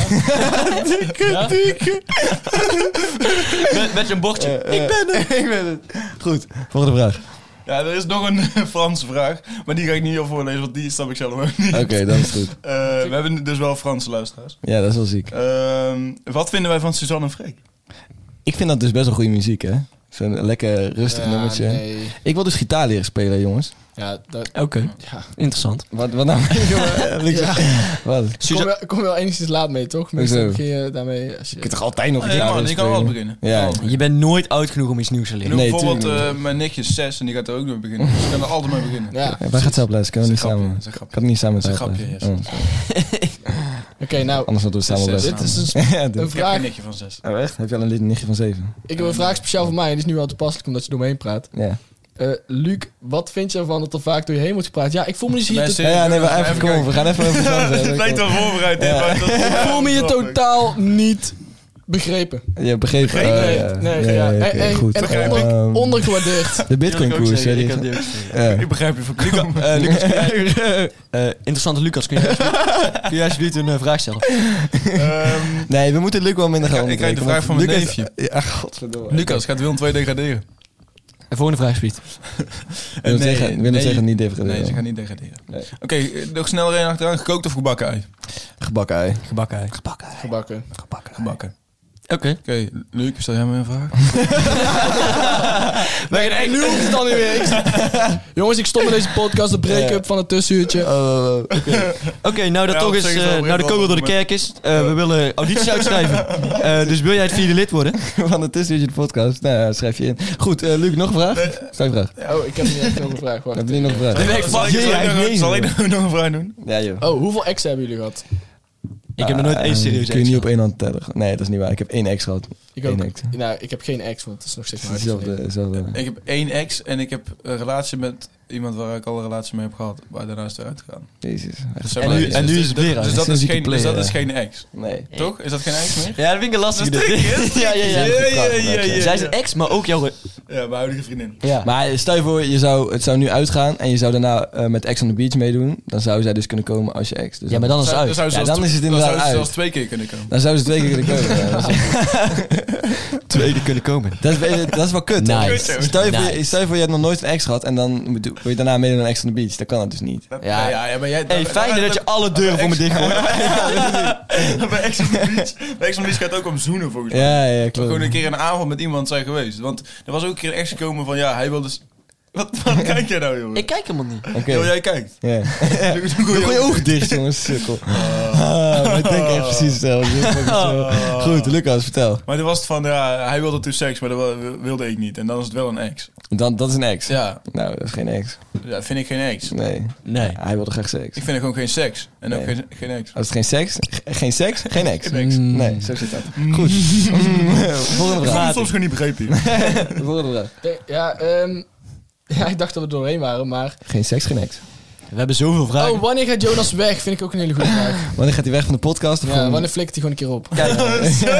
D: Met, met je bochtje. ik ben er. ik ben
B: doen.
D: het.
B: Goed, volgende vraag.
C: er is nog een <laughs> Franse vraag. Maar die ga ik niet op voorlezen, want die snap ik zelf ook niet.
B: Oké, dan is het goed.
C: Eh, we hebben dus wel Franse luisteraars.
B: Ja, dat is wel ziek.
C: Ehm, wat vinden wij van Suzanne en Freek?
B: Ik vind dat dus best wel goede muziek, hè? Zo'n lekker rustig
E: Ja,
B: nummertje.
E: nee.
B: Ik wil dus gitaar leren spelen, jongens.
E: Ja, dat... <laughs>
D: Oké,
E: Ja.
D: interessant.
B: Wat, wat
C: <laughs>
B: nou? <laughs> Jongen, links-
E: Ja.
B: Wat?
E: Kom, wel, kom wel enigszins laat mee, toch?
B: Hoezo?
E: Meestal begin je daarmee als je...
B: Je kunt toch altijd nog
C: Nee,
B: gitaar
C: man,
B: leren
C: ik kan
B: spelen?
C: wel beginnen. Oh.
B: Ja.
C: Kan wel.
D: Je bent nooit oud genoeg om iets nieuws te
C: Ik
D: leren.
C: noem
B: Nee,
C: bijvoorbeeld eh,
B: tuurlijk
C: mijn nichtje is zes en die gaat er ook mee beginnen. Dus ik kan er altijd mee beginnen.
E: Ja,
B: Ja, wij gaan het opleiden, kunnen we niet
C: Dat is een grapje,
B: samen.
C: dat is een
B: Ik
C: grapje.
B: kan het niet samen
C: Dat is
B: zelf
C: een grapje,
B: lezen. Oh,
E: oké, nou,
B: Anders dan doen we het samen
E: dit
B: best.
E: is een, sp-
B: <laughs> Ja, dit-
E: een
C: Ik heb
E: vraag.
C: een nichtje van zes.
B: Oh, echt? Heb je al een nichtje van zeven?
E: Ik heb een vraag speciaal voor mij en die is nu wel toepasselijk omdat je doorheen praat.
B: Ja.
E: Eh, Luc, wat vind je ervan dat er vaak door je heen wordt gepraat? Ja, ik voel me dus hier...
C: Mensen-
B: Ja, ja, nee, maar
C: Even
B: even, kom op, we gaan even over Frans hebben.
C: <laughs> Het lijkt wel voorbereid. dit, maar dat-
E: tot- Ik voel me hier totaal niet begrepen.
B: Je hebt begrepen.
C: Nee,
B: Oh,
E: nee,
B: ja.
E: nee,
B: Ja,
E: ja.
B: ja,
E: En-
B: oké,
E: en-
B: goed.
E: en
B: Ehm, <laughs>
E: onder- ondergewaardeerd.
B: De Bitcoin-koers. hè, die is- Ja.
C: Ik begrijp je voorkomen. <laughs>
D: Eh,
B: <laughs>
D: interessante Lucas, kun jij alsjeblieft- kun jij alsjeblieft een eh, vraag stellen?
C: Ehm,
B: Nee, we moeten Luc wel minder gaan
C: Ik- ik krijg de vraag
B: onderbreken,
C: van
B: want
C: mijn
B: Luc heeft- Ja, godverdomme.
C: Lucas, gaat Willem 2 degraderen?
D: De volgende vraag, alsjeblieft.
B: Willem II gaat- Willem II gaat niet degraderen.
C: Nee, ze gaan niet degraderen.
B: Nee.
C: Oké, eh, nog snel er een achteraan. Gekookt of gebakken ei?
B: Gebakken ei.
D: Gebakken. Gebakken.
E: Gebakken.
C: Gebakken.
D: Oké.
C: Oké, Luc, stel jij me een vraag?
E: Nee, nee, nu hoeft het dan niet meer. Ik- Jongens, ik stop met deze podcast, de break-up van het tussenuurtje.
B: Oh,
D: Oké, nou dat
C: Ja,
D: toch
C: op
D: is,
C: zich is
D: eh,
C: wel weer
D: nou de
C: wat
D: kogel door de
C: moment.
D: kerk is. Eh, We willen audities uitschrijven. Eh, dus wil jij het vierde lid worden?
B: <laughs> van de tussenuurtje de podcast. Nou, ja, schrijf je in. Goed, eh, Luc, nog een vraag? Stel je vraag.
E: Oh, ik heb niet echt nog een vraag. Wacht.
B: Heb je nog een vraag?
C: zal, ik,
D: fuck
C: zal,
D: yeah,
C: ik nog,
D: nee,
C: zal ik nog- nog een vraag doen?
B: Ja, joh.
E: Oh, hoeveel exen hebben jullie gehad?
D: Ik heb nog nooit één serieus
B: Ah, Kun je niet
D: ex
B: op één hand tellen. Nee, dat is niet waar. Ik heb één ex gehad.
E: Ik
B: Eén
E: ook.
B: ex.
E: Nou, ik heb geen ex, want het is nog steeds maar
B: Hetzelfde. hetzelfde.
C: Ik heb één ex en ik heb een relatie met iemand waar ik al een relatie mee heb gehad. Waar daarna is het uitgegaan.
B: Jezus.
C: Dus
D: En nu- en nu is het weer uit.
C: Dus dat
B: Zo'n
C: is
B: zieke
C: geen- dus
B: player,
C: dat is
B: ja.
C: geen ex.
B: Nee.
C: Toch? Is dat geen ex meer?
D: Ja, dat vind ik een lastige.
C: Dat is
D: dit.
C: dik, hè?
D: <laughs> ja, ja, ja.
C: Ja, ja, ja, ja.
D: Zij is een ex, maar ook jouw...
C: Ja, mijn huidige vriendin.
D: Ja.
B: Maar stel je voor, je zou, het zou nu uitgaan en je zou daarna eh, met Ex on the Beach meedoen. Dan zou zij dus kunnen komen als je ex. Dus
D: ja, maar dan is het
C: Zou-
D: uit.
C: zou ze
B: Ja,
C: zelfs
B: dan is het
C: tw-
B: inderdaad
C: zou ze
B: uit.
C: zelfs twee keer kunnen komen.
B: Dan zou ze twee keer kunnen
C: <laughs>
B: komen. Ja, dat, is,
D: twee keer kunnen komen.
B: dat, is, eh, dat is wel kut. hè?
D: Nice.
B: Dus Stel, je voor,
D: Nice.
B: stel je voor, je hebt nog nooit een ex gehad en dan moet- wil je daarna meedoen aan Ex on the Beach. Dat kan dat dus niet.
D: Ja.
C: ja, ja maar jij...
D: Hey, fijn dat je alle deuren voor me
C: <laughs>
D: dicht gooit.
C: Bij Ex on the Beach, bij Ex on the Beach gaat het ook om zoenen volgens mij.
B: Ja, ja,
C: Gewoon
B: klopt.
C: een keer een avond met iemand zijn geweest. Want er was ook een keer een ex gekomen van ja, hij wilde. s- <laughs> Wat,
D: <laughs>
C: waarom kijk jij nou, jongen?
D: Ik kijk helemaal niet.
B: Oké.
C: Yo, jij kijkt.
B: Ja.
C: Doe- doe- doe-
B: Doe
C: doe-
B: je ogen dicht, jongens. Sukkel. Ah, maar ik denk echt precies hetzelfde. Dit vond ik zo- Goed, Lucas, vertel.
C: Maar dit was het van, ja, hij wilde natuurlijk seks, maar dat wa- wilde ik niet. En dan is het wel een ex.
B: Dan, dat is een ex.
C: Ja,
B: Nou, dat is geen ex.
C: dat vind ik geen ex.
B: Nee.
D: Nee.
B: Hij wilde graag seks.
C: Ik vind er gewoon geen seks. En ook
B: Nee.
C: geen, geen ex.
B: Als het geen seks, ge- geen seks, geen ex.
C: Geen ex.
B: Nee, zo zit dat. Goed. Volgende
C: Ik vond het
B: vraag.
C: soms gewoon niet begrepen. hier.
B: Volgende vraag.
E: Oké, Ja, ehm, <laughs> ja, ik dacht dat we er doorheen waren, maar...
B: Geen seks, geen ex.
D: We hebben zoveel vragen.
E: Oh, wanneer gaat Jonas weg? Vind ik ook een hele goede
B: <laughs>
E: vraag.
B: Wanneer gaat hij weg van de podcast? Of
E: Ja,
B: van-
E: wanneer flikt hij gewoon een keer op?
C: Zo,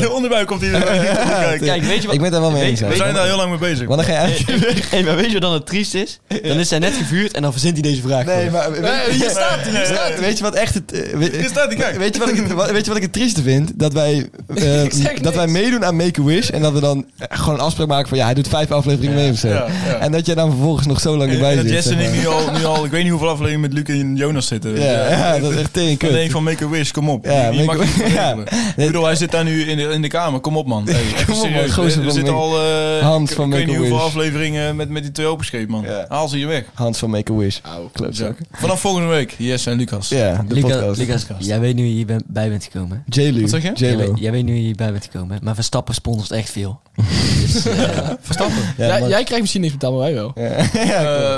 C: de onderbuik komt hier. <laughs> Kijk,
D: Kijk, weet je wat?
B: Ik ben daar wel mee eens.
D: Weet-
C: we
B: eigenlijk.
C: zijn daar heel lang mee bezig.
B: Wanneer ga je eigenlijk...
D: <laughs> Hey, maar weet je wat dan het triest is? Dan is hij net gevuurd en dan verzint hij deze <laughs> vraag.
B: Nee,
D: gewoon.
B: maar...
E: Nee, hier staat hij,
C: Nee,
E: hier
C: nee,
E: staat hij.
B: Weet je wat echt het... eh, we-
C: Hier staat hij, kijk.
B: Weet je, wat ik, het- wat- weet je wat ik het trieste vind? Dat
C: <laughs>
B: wij, eh,
E: Ik zeg
B: dat wij
E: niks.
B: meedoen aan Make-A-Wish en dat we dan eh, gewoon een afspraak maken van ja, hij doet vijf afleveringen mee of zo.
C: ja, ja.
B: En dat jij dan vervolgens nog zo lang
C: En-
B: erbij
C: en dat
B: zit.
C: Jesse
B: zeg
C: en ik
B: maar.
C: nu al, nu al, ik weet niet hoeveel afleveringen met Luc en Jonas zitten. weet je.
B: ja, ja, dat is echt tegen
C: Dan denk ik
B: kut.
C: van make a wish, kom op.
B: Ja,
C: je, je
B: Make
C: mag
B: a-
C: het niet
B: Ja.
C: regelen. Ik bedoel, hij zit daar nu in de, in de kamer. Kom op, man. Hey, even
B: Kom op, man,
C: serieus.
B: gozer
C: er
B: van
C: zitten
B: Make-
C: al... eh,
B: Hans
C: ik-
B: van
C: Ik weet niet
B: Make-A-Wish.
C: hoeveel afleveringen met, met die twee opgeschreven, man.
B: Ja.
C: Haal ze hier weg.
B: Hans van Make-A-Wish.
E: Au.
B: Klopt
C: Vanaf volgende week, Jesse en Lucas.
B: Ja, de
D: Lucas,
B: podcast.
D: Lucas, jij weet nu je hierbij bent gekomen. hè?
B: J-Lo.
C: Wat zeg je?
D: Jij
B: J-Lo.
D: weet, jij weet nu je hierbij bent gekomen. hè? Maar Verstappen sponsort echt veel. Dus, eh,
C: Verstappen.
B: Ja,
E: jij,
B: maar-
E: jij krijgt misschien niks betaald, maar wij wel.
C: Eh,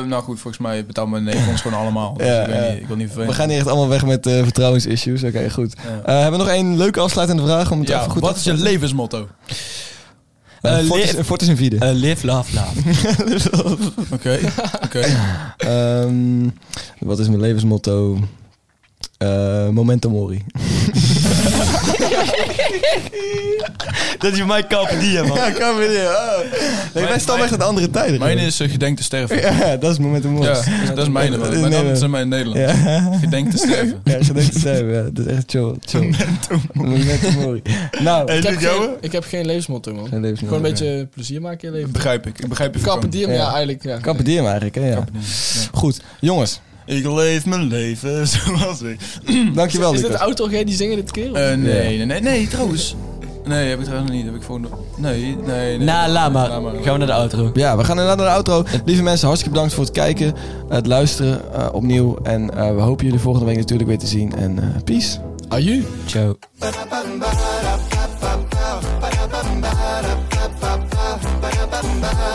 C: nou goed, volgens mij betaalt mijn neef ons gewoon allemaal. Dus
B: Ja,
C: ik, weet
B: ja.
C: niet, ik wil niet vervelend.
B: We gaan hier echt allemaal weg met eh, vertrouwensissues. Oké, goed. Eh, hebben we nog één leuke afsluitende vraag om het
C: Ja,
B: even goed
C: wat
B: af
C: is
B: te
C: je
B: zetten?
C: levensmotto?
B: Eh,
D: Eh,
B: Fortis-
D: le-
B: Fortis en Vide.
D: eh, live, love, love.
C: Oké,
B: <laughs>
C: oké.
B: Ehm, wat is mijn levensmotto? Eh, momento <laughs> mori.
D: <laughs> Dat is voor mij kap die, hè, man.
B: Ja, kan weer. Nee, wij
C: Mijn-
B: stammen echt uit andere tijden.
C: Mijn is eh, gedenk te sterven. Ja,
B: <laughs> Ja, dat is moment om
C: dat is- dat is mijn. Maar
B: Nee,
C: dan
B: nee.
C: zijn mijn Nederland.
B: <laughs> Ja,
C: Gedenk te
B: <laughs>
C: sterven.
B: ja gedenkt te zijn. Ja, dat is echt chill. chill. Momento mori. Nou,
E: Ik heb,
C: Luc, jouwe?
E: geen, ik heb geen levensmotto, man.
B: zijn levensmotto.
E: Gewoon een beetje plezier maken in je leven.
C: Begrijp ik. Ik begrijp je
E: Kappen dier, maar
B: Ja.
E: ja, eigenlijk. Ja.
B: Kappen die hem eigenlijk, hè? Ja. Goed, jongens.
C: Ik leef mijn leven zoals ik.
B: Dankjewel,
E: Is dit de
B: Lucas.
E: auto die zingen dit
C: Eh,
E: keer?
C: nee,
B: Ja.
C: nee, nee, nee, trouwens. Nee, heb ik trouwens niet. Heb ik volgende. Nee, nee, nee.
D: Na, Nou, laat maar.
C: Laat maar.
D: Gaan we naar de outro.
B: Ja, we gaan inderdaad naar de outro. Lieve mensen, hartstikke bedankt voor het kijken, het luisteren eh, opnieuw. En eh, we hopen jullie volgende week natuurlijk weer te zien. En eh, peace.
E: Aju.
D: Ciao.
H: Ba-da-ba-ba-ba, ba-da-ba-ba-ba, ba-da-ba-ba-ba, ba-da-ba-ba-ba,